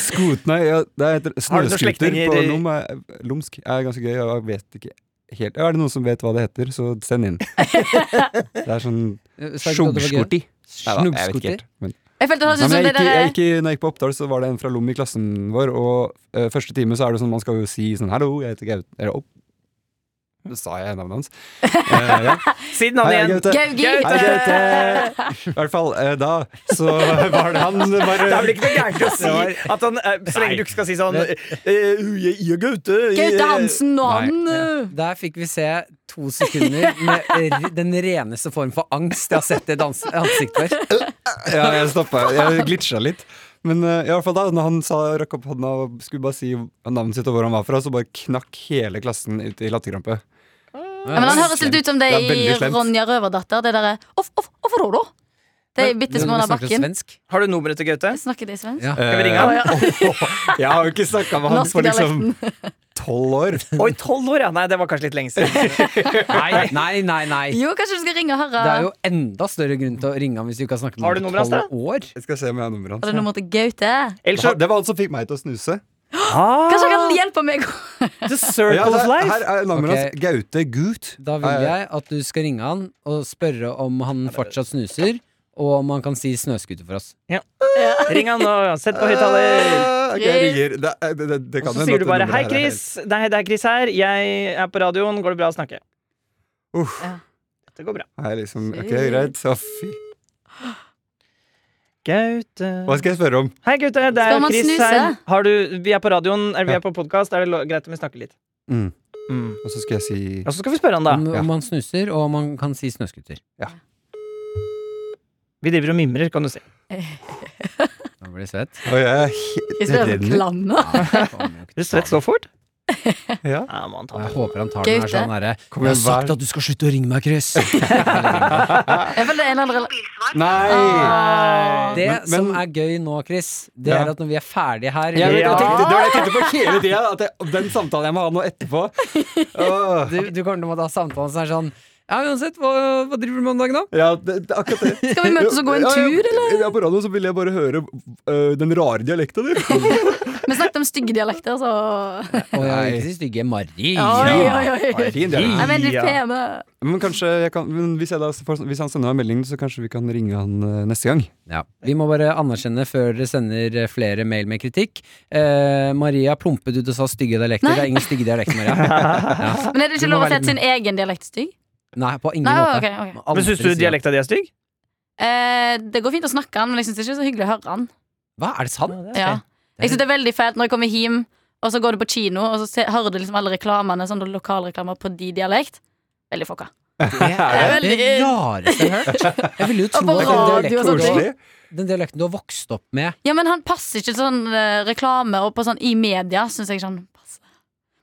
Skot, nei, ja, det
Har du
heter
noen
snøskuter
slektninger
på
i-
lom. Er, lomsk er ganske gøy, og jeg vet ikke helt Er det noen som vet hva det heter, så send inn. Det er sånn
Eh, Sa ikke du at det var gøy?
sjogskorti. Nei da, jeg vet ikke
Snuggskoter?
helt. Men
Jeg følte det
Nei,
hørtes ut
men
som
jeg
det
gikk, i- jeg
der
gikk, i- når jeg gikk på Oppdal, så var det en fra Lom i klassen vår. Og eh, første time så er det sånn man skal jo si sånn Hallo, jeg heter Gaute. Eller opp. Nå sa jeg navnet hans. Eh, ja.
Siden han
Hei,
igjen
Gaute.
Gaugi!
Gaute.
Hei, Gaute. I hvert fall eh, da, så var det han bare
Det er vel ikke noe gærent å si at han eh, Så lenge du ikke skal si sånn eh, jeg, jeg, er Gaute jeg-
Gaute Hansen og han øh.
Der fikk vi se to sekunder med r- den reneste form for angst jeg har sett i et ans- ansikt før.
Ja, jeg stoppa. Jeg glitcha litt. Men eh, i hvert fall da, når han sa, rakk opp hånda og skulle bare si navnet sitt og hvor han var fra, så bare knakk hele klassen ut i latterkrampe.
Ja, men han høres litt ut som de
Det
i
er veldig slemt.
Ronja Røverdatter. Det derre Off, off, off, ro, ro. De
Men-
bitte små
Når vi
under
snakker
bakken.
svensk.
Har du nummeret til Gaute?
Snakker de svensk?
Ja.
Skal vi
Eh,
ringe
Å,
han?
ja.
Jeg har jo ikke snakka med han
Norske
for liksom tolv år.
Oi, tolv år, ja! Nei, det var kanskje litt lenge siden.
Nei, nei, nei. nei.
Jo, kanskje du skal ringe og høre.
Det er jo enda større grunn til å ringe ham hvis du ikke har snakket
Har du
med ham
nummeret
på
hans,
tolv år.
Jeg skal se om jeg har nummeret hans.
Har du noe mot Gaute?
Ellers så Ah,
Det var han som fikk meg til å snuse.
Kanskje han kan hjelpe meg?
The Circle
Ja,
of
det,
Life!
her er nummeret
Ok.
hans. Gaute Gut.
Da vil jeg at du skal ringe han og spørre om han fortsatt snuser, og om han kan si snøskuter for oss.
Ring han nå, sett på høyttaler.
Ah, ok, jeg ringer. Det, er- det, det, det
Og
kan
så
hende
sier
at
du bare
nummeret
'Hei,
her er
Chris. Nei, det er Chris her. Jeg er på radioen. Går det bra å snakke?'
helt- Uff,
Dette går bra.
er jeg liksom, ok, greit. Så, fy.
Gaute
Hva skal jeg spørre om?
Hei, Gaute. Det
Skal
er
man
Chris
snuse?
her. Har du, vi er på radioen. Er, vi
Ja.
er på podkast. Er det lo- greit om vi snakker litt?
Mm.
Mm.
Og så skal jeg si
Og så skal vi spørre han, da.
Om,
ja.
om han snuser, og om han kan si snøskuter.
Vi driver og mimrer, kan du si.
Da blir det svett.
Og jeg er he-
Hvis det er
renner.
klanne.
Nei, det kommer jo ikke
Er du
til å
svett så fort?
Ja.
Ja, må han ta
Jeg
den.
håper han tar den her
Gaute?
sånn derre
Kommer
Jeg har
hver-
sagt at du skal slutte å ringe meg, Chris!
Jeg føler det er en eller annen
Nei!
Ah.
Det
Men-
som
men-
er gøy nå, Chris, det
Ja.
er at når vi er ferdige her
Jeg, vet- jeg
Ja.
tenkte, det var det jeg tenkte på hele tida. At jeg, den samtalen jeg må ha nå etterpå. Åh.
du, du kommer til å måtte ha samtalen som er sånn Ja, uansett, hva, hva driver du med om dagen, da?
Ja, det, det, er akkurat det.
Skal vi møtes og gå en
Ja, ja,
tur, eller?
Ja, på radio så vil jeg bare høre øh, den rare dialekta di.
Vi snakket om stygge dialekter, så
Å, jeg
Nei.
er ikke så stygge Maria.
Oi, oi, oi.
Fin dialekt.
Jeg mener litt pene.
Men kanskje jeg kan, men hvis, jeg da, får- sånn, hvis han sender meg en melding, så kanskje vi kan ringe han øh, neste gang.
Ja. Vi må bare anerkjenne før dere sender eh, flere mail med kritikk. Eh, Maria plumpet ut og sa stygge dialekter.
Nei.
Det er ingen stygge dialekter, Maria. Ja.
Men er det
Du
ikke
må
lov å
være
sette sin egen dialekt stygg?
Nei, på ingen
Nei,
måte.
ok, ok.
Aldri
Men syns du
si-
dialekta di er stygg?
Eh, det går fint å snakke han, men jeg syns det er ikke så hyggelig å høre han.
Hva, er det sant?
Ja. Jeg synes det er veldig fælt når jeg kommer hjem, og så går du på kino, og så se, hører du liksom alle reklamene, sånne lokalreklamer på de dialekt. Veldig fucka.
Det er
veldig-
det rareste jeg har hørt. Jeg ville jo
Og på
tro at den
radio og
dialekten,
sånne ting.
du,
Koselig.
har- den dialekten du har vokst opp med
Ja, men han passer ikke sånn eh, reklame og på sånn i media, syns jeg ikke han passer.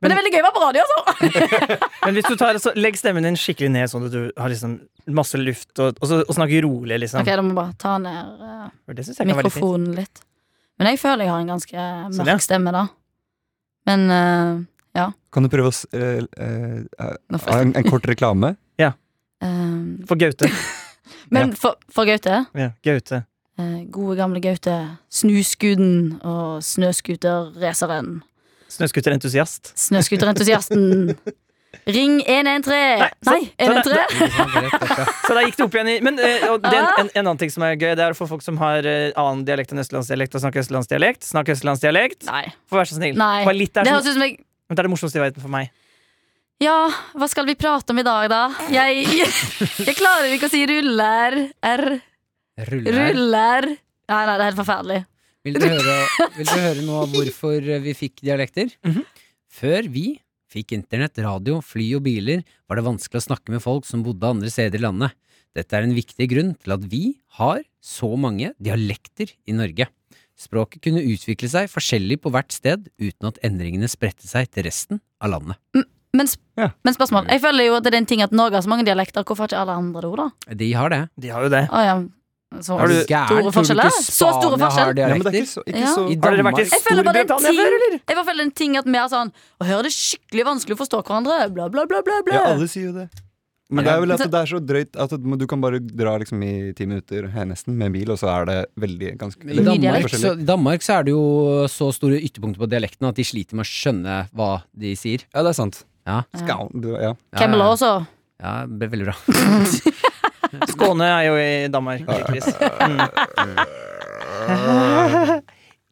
Men, det er veldig gøy å være på radio, altså!
Men hvis du tar, så legg stemmen din skikkelig ned, sånn at du har liksom masse luft, og, og, så, og snakker rolig, liksom.
Ok, da må jeg bare ta ned eh,
For det syns jeg kan være litt fint.
mikrofonen litt. Men jeg føler jeg har en ganske
Sånn, ja.
mørk stemme, da. Men eh,
Kan du prøve å s- øh, øh, øh,
nå får
ha
jeg
en, en kort reklame?
eh,
For Gaute.
Men for, for Gaute,
Ja, Gaute.
eh, gode gamle Gaute, snusguden og snøskuterraceren.
Snøskuterentusiast.
Snøskuterentusiasten. Ring 113. Nei,
sånn,
113.
Så der gikk det opp igjen i Men eh, og det er en, en, en annen ting som er gøy, det er for folk som har eh, annen dialekt enn østlandsdialekt, og snakker østlandsdialekt. Snakk østlandsdialekt.
Nei.
For vær så snill.
Nei.
Bare litt
Det
der,
høres
sånn,
ut som jeg
men det er det morsomste i verden for meg.
Ja, hva skal vi prate om i dag, da? Jeg, jeg klarer jo ikke å si ruller. R.
Ruller.
Ruller. Nei, nei, det er helt forferdelig.
Vil dere høre, vil dere høre noe av hvorfor vi fikk dialekter?
Mhm.
Før vi fikk internett, radio, fly og biler, var det vanskelig å snakke med folk som bodde andre steder i landet. Dette er en viktig grunn til at vi har så mange dialekter i Norge. Språket kunne utvikle seg forskjellig på hvert sted uten at endringene spredte seg til resten av landet.
Men, sp
Ja.
men spørsmål. Jeg føler jo at det er en ting at Norge har så mange dialekter. Hvorfor har ikke alle andre det ord, da?
De har det.
De har jo det.
Å, ja. Så
Har du-
Gæren,
store
tror du
forskjeller?
ikke
Så store
Spania har
forskjell?
Ja, men det
dialekter?
er ikke så, ikke
Ja.
så
Har dere vært i
Jeg føler bare det er en
Storbritannia før, eller?
Jeg bare føler en ting at vi er sånn Å, her er det skikkelig vanskelig å forstå hverandre. Bla, bla, bla, bla. bla.
Ja, alle sier jo det. Men det er vel at
Så-
det er så drøyt at du- du kan bare dra liksom i ti minutter her nesten med en bil, og så er det veldig ganske
I
Mye
Danmark,
dialekt.
så, I Danmark så er det jo så store ytterpunkter på dialekten at de sliter med å skjønne hva de sier.
Ja, det er sant.
Ja.
Skal, du, ja.
Ja,
Camilla
ja,
også.
ja, det er veldig bra.
Skåne er jo i Danmark. Chris. Mm.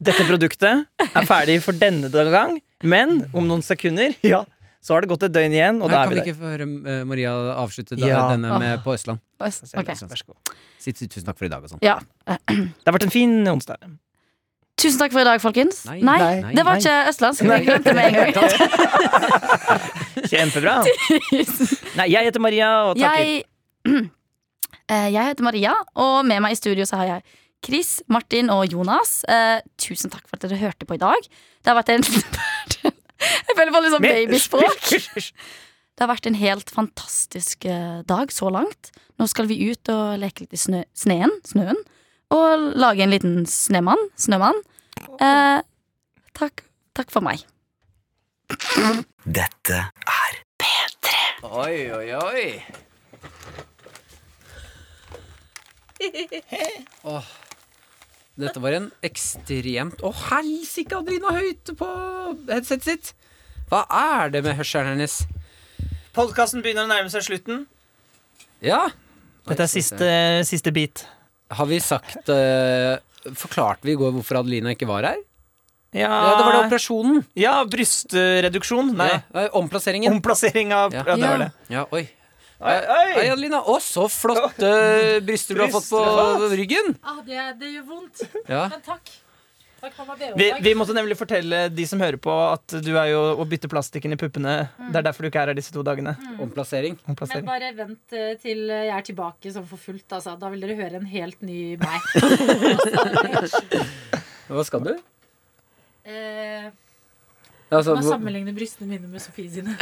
Dette produktet er ferdig for denne gang, men om noen sekunder ja, så har det gått et døgn igjen, og
Nei,
da er vi
kan vi
der.
ikke få høre eh, Maria avslutte da,
Ja.
denne med på Østland?
Ok.
altså.
Vær så god.
Si tu- tusen takk for i dag og sånn.
Ja.
Det har vært en fin onsdag.
Tusen takk for i dag, folkens.
Nei,
Nei,
nei,
det var
nei.
ikke østlandsk. Jeg glemte med en gang.
Kjempebra. Nei, jeg heter Maria og takker.
Jeg, Eh, jeg heter Maria, og med meg i studio så har jeg Chris, Martin og Jonas. Eh, tusen takk for at dere hørte på i dag. Det har vært en Jeg føler bare litt sånn
Men-
babyspråk. Det har vært en helt fantastisk eh, dag så langt. Nå skal vi ut og leke litt i snø, sneen, snøen. Og lage en liten snemann. Snømann. Eh, takk, takk for meg.
Dette er
Oi, oi, oi.
Dette var en ekstremt Å, helsike, Adrina høyt på headsetet sitt! Hva er det med hørselen hennes?
Podkasten begynner å nærme seg slutten.
Ja,
Dette er siste, siste bit.
har vi sagt eh, Forklarte vi i går hvorfor Adelina ikke var her? Ja, det var det operasjonen.
Ja, brystreduksjon. Ah. Nei,
Ja, eh, omplasseringen.
omplassering av
Ja.
Ja, det var det.
Ja, oi.
Oi, oi.
Hei, Adelina. Å, så flotte bryster du har fått på
Bryster.
ryggen.
Ah, det, gjør vondt,
Ja.
men takk. Takk, mamma
Vi, vi måtte nemlig fortelle de som hører på, at du er jo å bytte plastikken i puppene. Det er derfor du ikke er her disse to dagene.
Omplassering.
Men
Omplassering.
bare vent eh, til jeg er tilbake sånn for fullt. Altså. Da vil dere høre en helt ny meg.
Hva skal du?
Eh,
Altså,
Man
hvor-
sammenligner brystene mine med Sofie sine.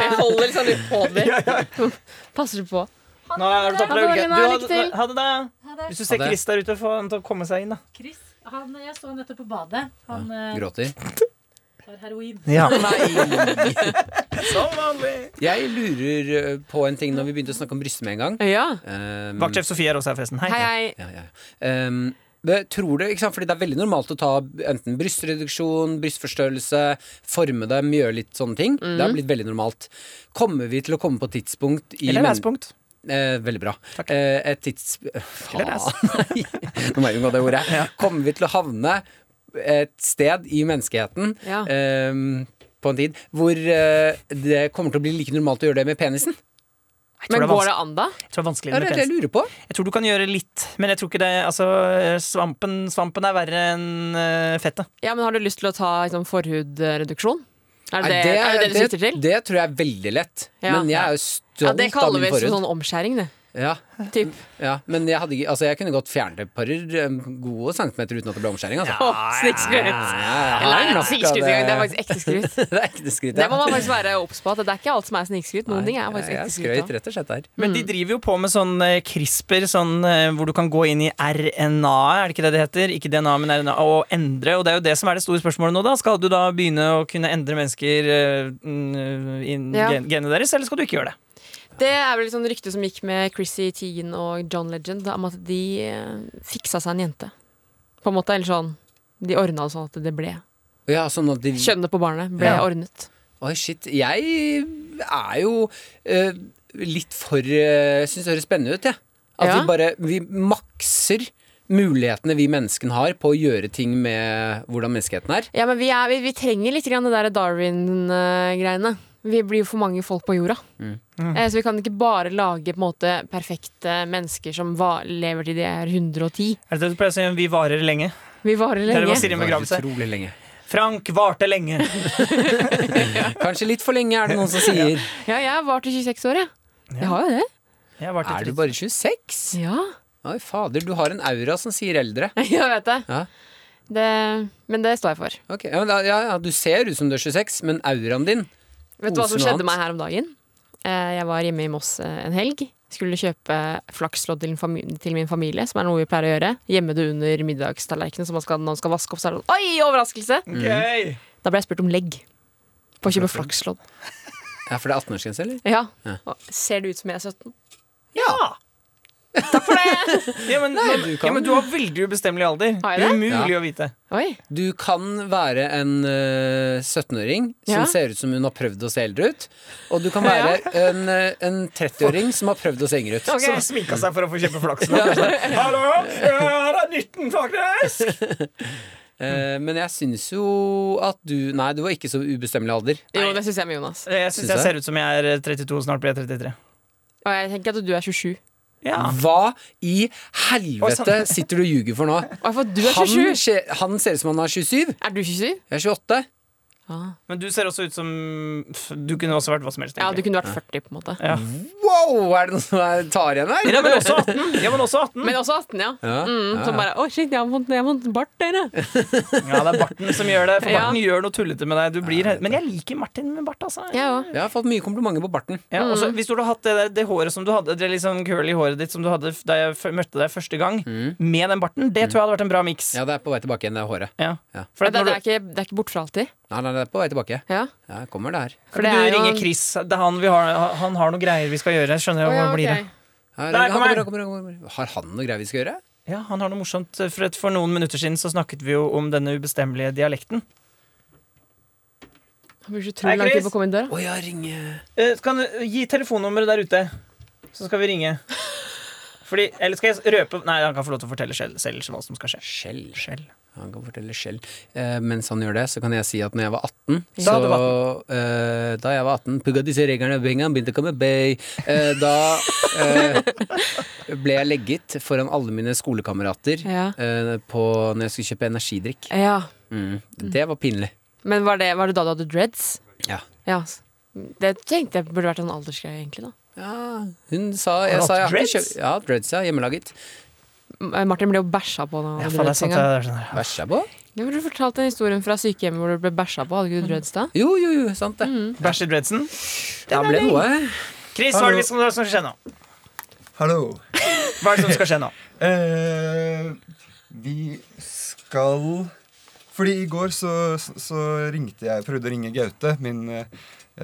Jeg holder liksom litt på dem. Passer på.
Nå har du tatt deg
Karolina, lykke
uke.
til.
Ha det, da. Hvis du ser
Ha det.
Chris der ute, få han til å komme seg inn, da.
Chris, han, jeg så han nettopp på badet. Han eh,
Gråter.
tar heroin.
Ja.
Nei!
Som vanlig.
Jeg lurer eh, på en ting når vi begynte å snakke om bryst med en gang.
Ja.
Um,
Vaktsjef Sofie er også her, forresten.
Hei,
Hei.
hei.
Ja, ja. ja. Um, det- tror du, ikke sant? Fordi Det er veldig normalt å ta enten brystreduksjon, brystforstørrelse, forme dem, gjøre litt sånne ting. Det
Mhm.
har blitt veldig normalt. Kommer vi til å komme på et tidspunkt i
Eller
men-
lærepunkt.
Eh, veldig bra.
Takk.
Eh, et tids... eh, Faen!
Eller
Nei. Nå må jeg unngå det ordet. Kommer vi til å havne et sted i menneskeheten
Ah.
Ja.
ehm, på en tid hvor eh, det kommer til å bli like normalt å gjøre det med penisen?
tror
Men
det er
går det an, da?
Jeg tror det er
Det
vanskeligere
er
med
det jeg
penisen.
lurer på.
Jeg tror du kan gjøre litt, men jeg tror ikke det Altså, svampen, svampen er verre enn eh, fettet.
Ja, men Har du lyst til å ta liksom, forhudreduksjon? Er
Nei,
det det, er det, det du sikter til?
Det tror jeg er veldig lett.
Ja.
Men jeg er jo
ja,
stolt
det
av
kaller
min
vi
forhud.
sånn omskjæring, det.
Ja,
Typ.
ja. Men jeg, hadde, ikke- altså, jeg kunne godt fjernet et par eh, gode centimeter uten at det ble omskjæring. Altså.
Åh, Snikskryt.
ja,
Eller
ja.
er det
altså,
snikskryt engang? Det er faktisk ekte skryt.
Det er ikke det skrytet.
Det må man faktisk være obs på. At det er ikke alt som er snikskryt. Noen ting er faktisk
jeg,
ekte
jeg
skryt.
skrøyt
da.
rett og slett her.
Men
Mm.
de driver jo på med sånn eh, CRISPR, sånn, eh, hvor du kan gå inn i RNA, er det ikke det det heter? Ikke DNA, men RNA, og endre. Og det er jo det som er det store spørsmålet nå, da. Skal du da begynne å kunne endre mennesker eh, mm, inn
Ja.
gen- genene deres, eller skal du ikke gjøre det?
Det er vel sånn rykte som gikk med Chrissy Teigen og John Legend, om at de eh, fiksa seg en jente. På en måte, eller sånn De ordna det sånn at det ble
Ja, sånn at de,
Kjønnet på barnet ble
Ja.
ordnet.
Oi, shit. Jeg er jo eh, litt for uh, Syns det høres spennende ut, jeg. At
Ja.
vi bare vi makser mulighetene vi menneskene har på å gjøre ting med hvordan menneskeheten er.
Ja, men vi, er, vi, vi trenger litt grann det der Darwin-greiene. Vi blir jo for mange folk på jorda.
Mm.
Eh, så vi kan ikke bare lage på en måte perfekte mennesker som va lever til de er 110.
Er det det du pleier å si? Vi varer lenge.
Vi varer
Det er det man
lenge.
sier i en begravelse.
Utrolig lenge.
Frank varte lenge.
Kanskje litt for lenge, er det noen som sier.
Ja, jeg var til 26 år, jeg. Jeg har jo det.
Jeg varte
Er du
litt.
bare 26?
Ja,
Oi, fader, du har en aura som sier eldre.
jeg vet det.
Ja.
det. Men det står jeg for.
Ok, ja, men da- ja, ja, Du ser ut som du er 26, men auraen din
Vet du hva
Osen og
som
annet.
skjedde meg her om dagen? Eh, Jeg var hjemme i Moss eh, en helg. Skulle kjøpe flakslodd til, en fami- til min familie, som er noe vi pleier å gjøre. Gjemme det under middagstallerkenen så man skal, når man skal vaske opp. Så er det sånn, Oi, overraskelse!
Gøy!
Da ble jeg spurt om legg. På å kjøpe flakslodd.
Ja, for det er 18-årsgrense, eller?
Ja.
Ja.
Og Ser det ut som jeg er 17?
Ja!
Takk for det!
Ja, men,
du
du
kan.
ja, men du har veldig ubestemmelig alder.
Har jeg det?
Umulig
Ja.
å vite.
Oi.
Du kan være en eh, 17-åring som
Ja.
ser ut som hun har prøvd å se eldre ut. Og du kan være en, eh, en 30-åring som har prøvd å se yngre ut.
Ok.
Som sminka seg for å få kjøpe flaks. Hallo, her er 19, faktisk!
Eh, men jeg syns jo at du Nei, du var ikke så ubestemmelig alder.
Jo, det syns jeg med Jonas.
Eh, Jeg
Syns
syns
jeg?
jeg ser ut som jeg er 32, snart blir jeg 33.
Og jeg tenker at du er 27.
Ja.
Hva
Oi,
i helvete
sant.
sitter du og ljuger for nå?
Og jeg får du er
Han,
27!
skje- han ser ut som han er 27.
Er du 27?
Jeg er 28.
Men du ser også ut som pff, Du kunne også vært hva som helst.
Ja, du
egentlig.
kunne Mm. vært 40, på en måte.
Ja.
Wow, er det noen som er- tar igjen her?
Ja, men også 18. Ja, men også 18.
Men også 18, ja.
Ja,
Mm,
ja,
Som
ja.
bare Å, shit, jeg har vondt- jeg har vondt bart, dere.
Ja, det er barten som gjør det. For
Ja.
barten gjør noe tullete med deg. Du blir, men jeg liker Martin med bart, altså.
Jeg Mm. òg.
Jeg har fått mye komplimenter på barten.
Ja, og så hvis du hadde hatt det, der, det håret som du hadde Det liksom curly håret ditt som du hadde f- da jeg f- møtte deg første gang, med den barten, det tror jeg hadde vært en bra miks.
Mm. Ja, det er på vei tilbake igjen, det er håret.
Ja.
Ja.
For at
Det,
når
det,
du,
er ikke, det er ikke bort for alltid.
Nei, nei, det er på vei tilbake.
Ja.
Ja, jeg kommer der.
For
du
det er jo-
ringer Chris. Det er han, vi har, han har noen greier vi skal gjøre. Skjønner jeg hva blir det?
Ja,
Der
han
kommer
kommer,
han.
han kommer, han kommer. Har han noe greier vi skal gjøre?
Ja, han har noe morsomt. For, et, for noen minutter siden så snakket vi jo om denne ubestemmelige dialekten.
Han bruker så
Hei,
utrolig lang tid
Chris.
på å komme inn døra.
Å ja, ringe
Eh, kan du gi telefonnummeret der ute, så skal vi ringe. Fordi, eller skal jeg røpe Nei, han kan få lov til å fortelle selv, selv hva som skal skje.
Skjell.
Skjell.
Han kan fortelle skjell. Eh, mens han gjør det, så kan jeg si at når jeg var 18,
Da
så
du var
eh, Da jeg var 18, pugga disse reglene og pengene begynte å komme bay. Eh, da eh, ble jeg legget foran alle mine skolekamerater
Ja.
eh, på når jeg skulle kjøpe energidrikk.
ja.
Mm. Det var pinlig.
Men var det, var det da du hadde dreads?
Ja.
Ja. s- Det tenkte jeg burde vært en aldersgreie, egentlig. da
Ja, hun sa
Har
Jeg
du
sa jeg
hatt
har ikke
dreads?
kjøpt Ja, dreads, ja. Hjemmelaget.
M- Martin ble jo bæsja på da.
Ja, faen, det
han hadde
er sant.
dreads en gang.
Det er sånn her.
Bæsja på?
Du burde fortalt den historien fra sykehjemmet hvor du ble bæsja på. Hadde ikke du drøyd sted?
Jo, jo, jo, sant det.
Mm.
Bæsjer dreadsen.
Det ble noe.
Chris, hva er det som skal skje nå?
Hallo.
Hva er det som skal skje nå?
Eh, vi skal Fordi i går så, så ringte jeg prøvde å ringe Gaute, min eh,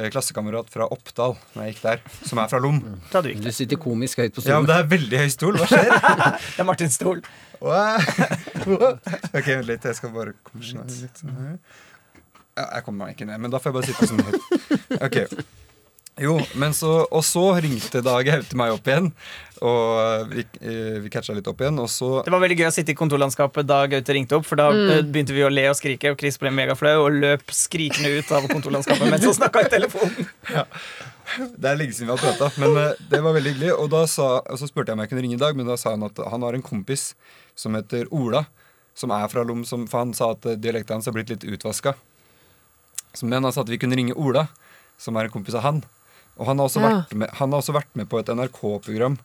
klassekamerat fra Oppdal, når jeg gikk der, som er fra Lom.
Da du gikk.
Du sitter komisk høyt på
Ja, men
stolen.
det er veldig høy stol. Hva skjer?
Det er Martin Stol.
Wow. ok, vent litt. Jeg skal bare komme meg litt sånn her. Ja, jeg kommer meg ikke ned, men da får jeg bare sitte sånn høyt. Ok. Jo, men så, og så ringte da Gaute meg opp igjen, og vi, eh, vi catcha litt opp igjen. Og så
Det var veldig gøy å sitte i kontorlandskapet da Gaute ringte opp, for da eh, begynte vi å le og skrike, og Chris ble megaflau og løp skrikende ut av kontorlandskapet mens han snakka i telefonen.
Det er lenge siden vi har prata, men eh, det var veldig hyggelig. Og, da sa, og så spurte jeg om jeg kunne ringe i dag, men da sa han at han har en kompis som heter Ola, som er fra Lom, som, for han sa at eh, dialekten hans har blitt litt utvaska. Men han sa at vi kunne ringe Ola, som er en kompis av han. Og han har også,
Ja.
vært, med, han har også vært med på et NRK-program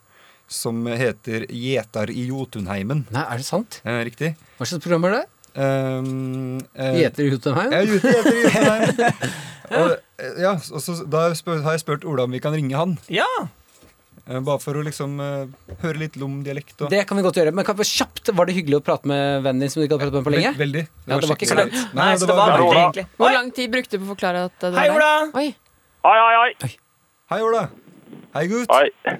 som heter Gjetar i Jotunheimen.
Nei, er det sant?
Eh, riktig.
Hva slags program er det?
Um, eh,
Gjeter i Jotunheim?
ja, Jute heter Jotunheimen. Og, eh, ja, og så, da spør, har jeg spurt Ola om vi kan ringe han.
Ja,
Eh, Bare for å liksom eh, høre litt lom-dialekt. og-
Det kan vi godt gjøre. Men kan, kjapt, var det hyggelig å prate med vennen din som du ikke hadde pratet med på lenge?
Vel- Veldig.
Ja, det var ikke
skikkelig-
Nei,
Nei,
så det var
bra.
Martin, egentlig.
Hvor
Oi,
lang tid brukte du på å forklare at det
Hei,
var
Ola!
deg? Oi.
Hei, hei, hei.
Hei, Ola. Hei, gutt.
Hei.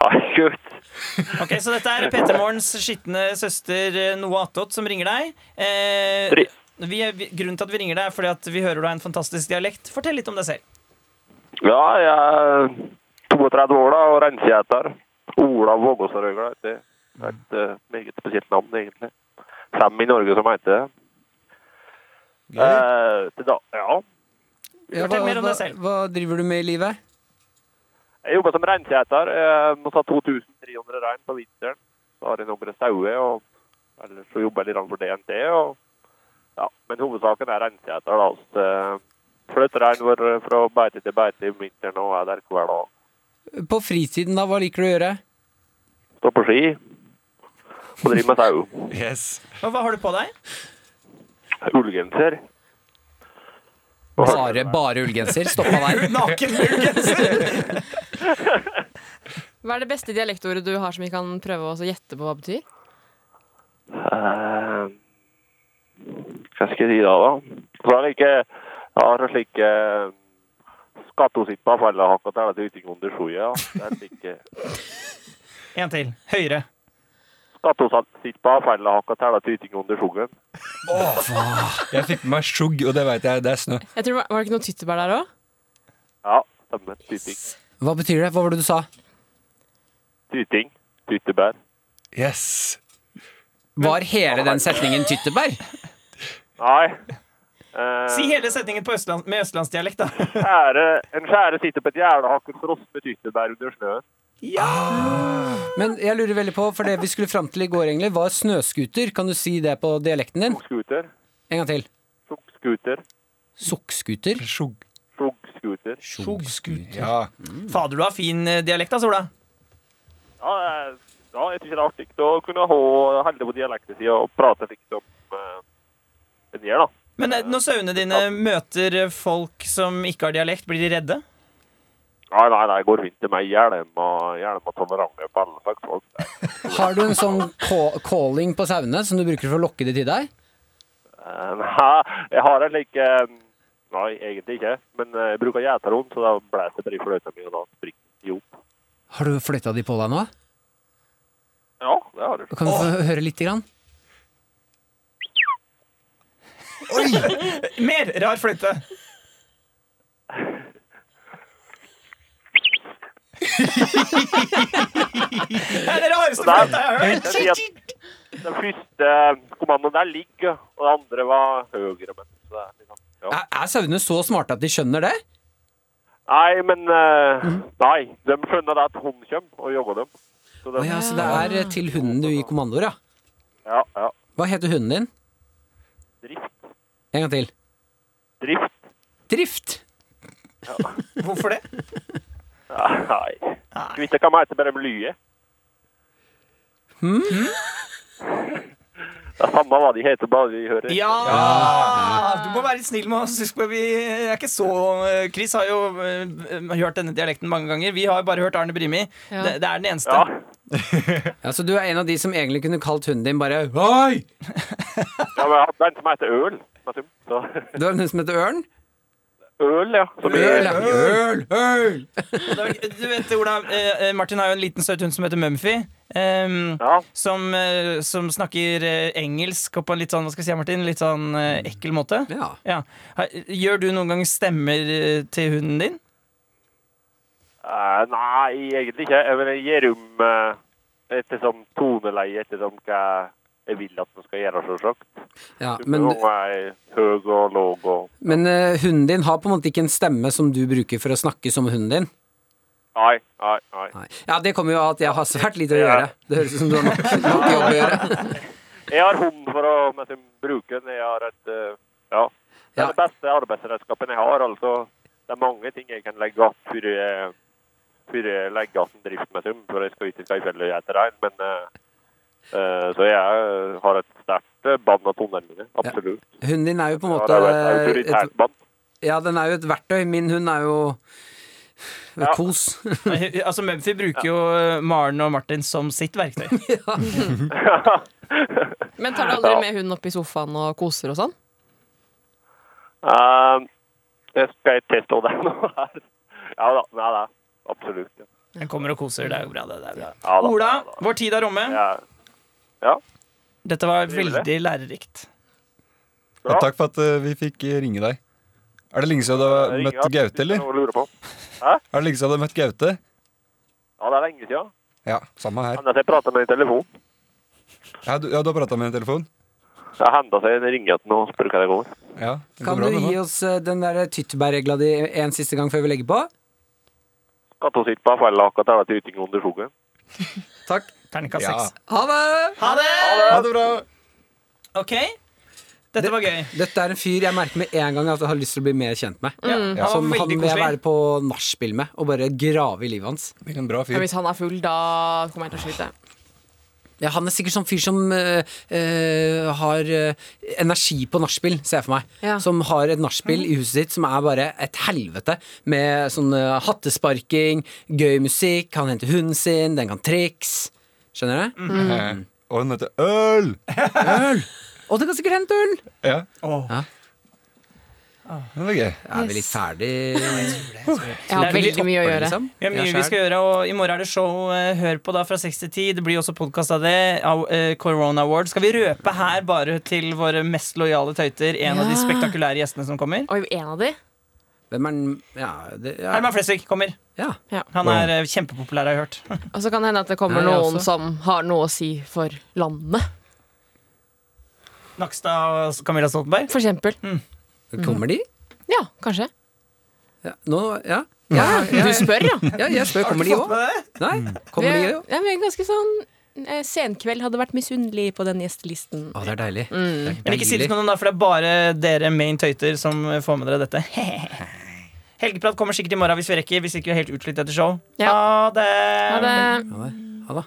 Hei, gutt.
Ok, Så dette er Peter Morgens skitne søster eh, Noah Attåt som ringer deg. Eh,
Ri-
vi, er- vi, grunnen til at vi ringer deg, er fordi at vi hører du har en fantastisk dialekt. Fortell litt om deg selv.
Ja, jeg er 32 år da, og renseheter. Ola Vågåsarøgla heter jeg. Det er et eh, meget spesielt navn, egentlig. Fem i Norge som heter det.
Gøy.
Eh, til da, ja.
Ja,
Fortell
hva,
mer om
hva,
deg selv.
hva driver du med i livet?
Jeg jobber som renseheter. Jeg må ta 2300 rein på vinteren. Så har jeg noen sauer, og ellers så jobber jeg litt for DNT. Og, ja. Men hovedsaken er renseheter, da. Så, eh, flytter rein vår fra beite til beite om vinteren og er der hver dag.
På fritiden, da? Hva liker du å gjøre?
Står på ski og driver med sånn sau.
Yes.
Og hva har du på deg?
Ullgenser.
Bare, bare ullgenser? Stoppa der.
Naken ullgenser!
Hva er det beste dialektordet du har som vi kan prøve å gjette på hva det betyr?
Eh, hva skal jeg si da, da? Så er det ikke Jeg har en slik eh, skattosippa fellehakka til dette ute i kondisjonen. Ja. Det er slik eh,
En til. Høyre.
skattosippa fellehakka til dette ute i kondisjonen.
Jeg fikk med meg sjugg, og det veit jeg. Det er snø.
Jeg tror, Var det ikke noe tyttebær der òg?
Ja, stemmer. Tyting.
Hva betyr det? Hva var det du sa?
Tyting. Tyttebær.
Yes.
Var hele den setningen tyttebær?
Nei. Eh,
Si hele setningen på østland, med østlandsdialekt, da.
skjære, en skjære sitter på et jævlehakket frost med tyttebær under snøen.
Men jeg lurer veldig på, for det vi skulle fram til i går, egentlig, var snøskuter. Kan du si det på dialekten din?
Skogscooter.
En gang til.
Skogscooter.
Sukkskuter?
Sjugg.
Skogscooter.
Skogskuter.
Ja.
Fader, du har fin eh, dialekt, da, Sola.
Ja, eh, ja, jeg synes det er artig å kunne ha holde på dialekten sin og prate slik som eh, en gjør, da.
Men eh, når sauene dine møter eh, folk som ikke har dialekt, blir de redde?
Nei, nei, nei, går rundt til meg hjelm og hjelm og tolerante på alle slags folk. Nei,
Har du en sånn ca- calling på sauene som du bruker for å lokke de til deg?
eh, nei, jeg har en slik eh, Nei, egentlig ikke. Men eh, jeg bruker gjeterom, så da blæser jeg bare i fløyta mi, og da springer de opp.
Har du flytta de på deg nå?
Ja, det har du.
Kan vi få høre lite grann?
Mer rar fløyte. det er den rareste fløyta jeg har hørt.
Den, den, den første eh, kommandoen der ligger, og den andre var høyre. Men, så det er liksom, ja.
Er, er sauene så smarte at de skjønner det?
Nei, men eh,
Mhm.
Nei, de skjønner da at hun kommer og jogger dem. Så de,
Å ja, så det er eh, til hunden du gir kommandoer, ja.
ja, ja.
Hva heter hunden din?
Drift.
En gang til.
Drift.
Drift.
Hvorfor det?
Nei. Du vet
Hmm?
ikke hva de heter, bare de lyer. Det er samme hva de heter, bare vi hører.
Ja! Du må være litt snill med oss. Husk på, vi er ikke så Chris har jo eh, hørt denne dialekten mange ganger. Vi har bare hørt Arne Brimi.
Ja.
Det, det er den eneste.
Ja, så du er en av de som egentlig kunne kalt hunden din bare Hei!
Ja, men jeg hadde en som heter Øl. med sum, Så.
Du har en som heter Ørn?
Øl, ja. Som i-
Øl, ja. Øl, øl!
Det var- Du vet, Ola, eh, eh, Martin har jo en liten søt hund som heter Mumphy. ehm, som, eh, som snakker eh, engelsk og på en litt sånn hva skal jeg si, Martin, litt sånn eh, ekkel måte.
Ja.
Ha- Gjør du noen gang stemmer eh, til hunden din?
Eh, nei, egentlig ikke. Jeg, mener, jeg gir om eh, etter som toneleie, etter som hva jeg vil at den skal gjøre, selvsagt.
Ja,
Du
men,
må være høy og låg og
men eh, hunden din har på en måte ikke en stemme som du bruker for å snakke som hunden din?
Nei, nei, nei.
Ja, det kommer jo av at jeg har svært lite å gjøre. Det høres ut som du har nok, nok jobb å gjøre.
Jeg har hund for å med sin bruke den. Jeg har et eh, Ja. Det er
Ja.
det beste arbeidsredskapen jeg har. Altså, det er mange ting jeg kan legge att før jeg, før jeg legger att en drift med sum, for jeg skal ikke skal i fjellet og ete rein. Men eh, eh, Så jeg eh, har et sterkt eh, bånd av tonnene mine. Absolutt.
Hunden din er jo på en
Jeg
måte eh,
har et
et,
autoritært bånd.
Ja, den er jo et verktøy. Min hund er jo kos.
Nei, altså Mumphy bruker jo eh, Maren og Martin som sitt verktøy.
Men tar du aldri med hunden opp i sofaen og koser og sånn?
Eh, Jeg skal teste den nå her. Ja da. Nei da. Absolutt. Ja.
Den kommer og koser. Det er jo bra. Det det er bra.
Ja da.
Ola, vår tid er omme.
Ja.
Dette var
Trivelig.
veldig lærerikt.
Bra.
Ja, takk for at eh, vi fikk eh, ringe deg. Er det lenge siden du har
Jeg ringer
møtt
opp hvis
Gaute,
det er
eller?
noe å lure på. Hæ?
Er det lenge siden du har møtt Gaute?
Ja, det er lenge siden.
Ja, samme her.
Enda jeg prater med i telefon.
Ja, du, ja, du har prata med en telefon?
Det hender seg en ringer til noen og spør hva det går.
Ja. det går
Kan du
bra, det nå.
gi oss eh, den der tyttebærregla di en siste gang før vi legger på?
Skal ta sitt på fella akkurat der til uting under skogen.
Takk.
Terningkast
Ja.
seks.
Ha det!
Ha det!
Ha det bra!
OK. Dette var gøy.
Dette er en fyr jeg merker med en gang at jeg har lyst til å bli mer kjent med.
Ja,
Mm.
Han
Som
var
han
veldig
vil jeg
koselig.
være på nachspiel med, og bare grave i livet hans.
En bra
Ja,
fyr.
hvis han er full, da kommer jeg til å slite.
Ja, han er sikkert sånn fyr som eh, eh, har eh, energi på nachspiel, ser jeg for meg.
Ja.
Som har et nachspiel i huset sitt som er bare et helvete. Med sånn eh, hattesparking, gøy musikk, han henter hunden sin, den kan triks. Skjønner du?
Mm.
Eh, Og hun heter Øl!
Øl! Og den kan sikkert hente øl!
Ja,
Åh.
det var gøy.
Er vi litt ferdig?
Jeg har
Det er
veldig mye å
Var det
gjøre.
liksom?
Vi har mye
Ja,
vi
skjær.
skal gjøre, og i morgen er det show. eh, Hør på da fra 6 til 10. Det blir også podkast av det. Av, eh, Corona Award. Skal vi røpe her bare til våre mest lojale tøyter en av de
Ja.
spektakulære gjestene som kommer?
Oi, en av de?
Hvem er den Ja, det, ja.
Herman Flesvig kommer.
ja.
Han er eh, kjempepopulær, har jeg hørt.
Og så kan det hende at det
Ja,
kommer
jeg
noen
også.
som har noe å si for landet,
Nakstad og Camilla Stoltenberg.
for eksempel.
Kommer de?
Ja, kanskje.
Ja. Nå, ja. Ja, ja,
Du spør, ja.
ja, jeg spør. Kommer de òg? Nei?
Vi
Kommer de
er,
òg?
ja, vi er ganske sånn eh, Senkveld hadde vært misunnelig på den gjestelisten.
Å, det er
Mm.
deilig. Det er
Men ikke si det
deilig.
til noen, da, for det er bare dere main tøyter som eh, får med dere dette. Helgeprat kommer sikkert i morgen hvis vi rekker. Hvis ikke vi er helt utslitt etter show.
Ja.
Ha det!
Ha det.
Ha det. Ha det.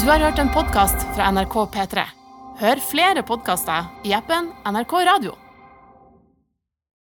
Du har hørt en podkast fra NRK P3. Hør flere podkaster i appen NRK Radio.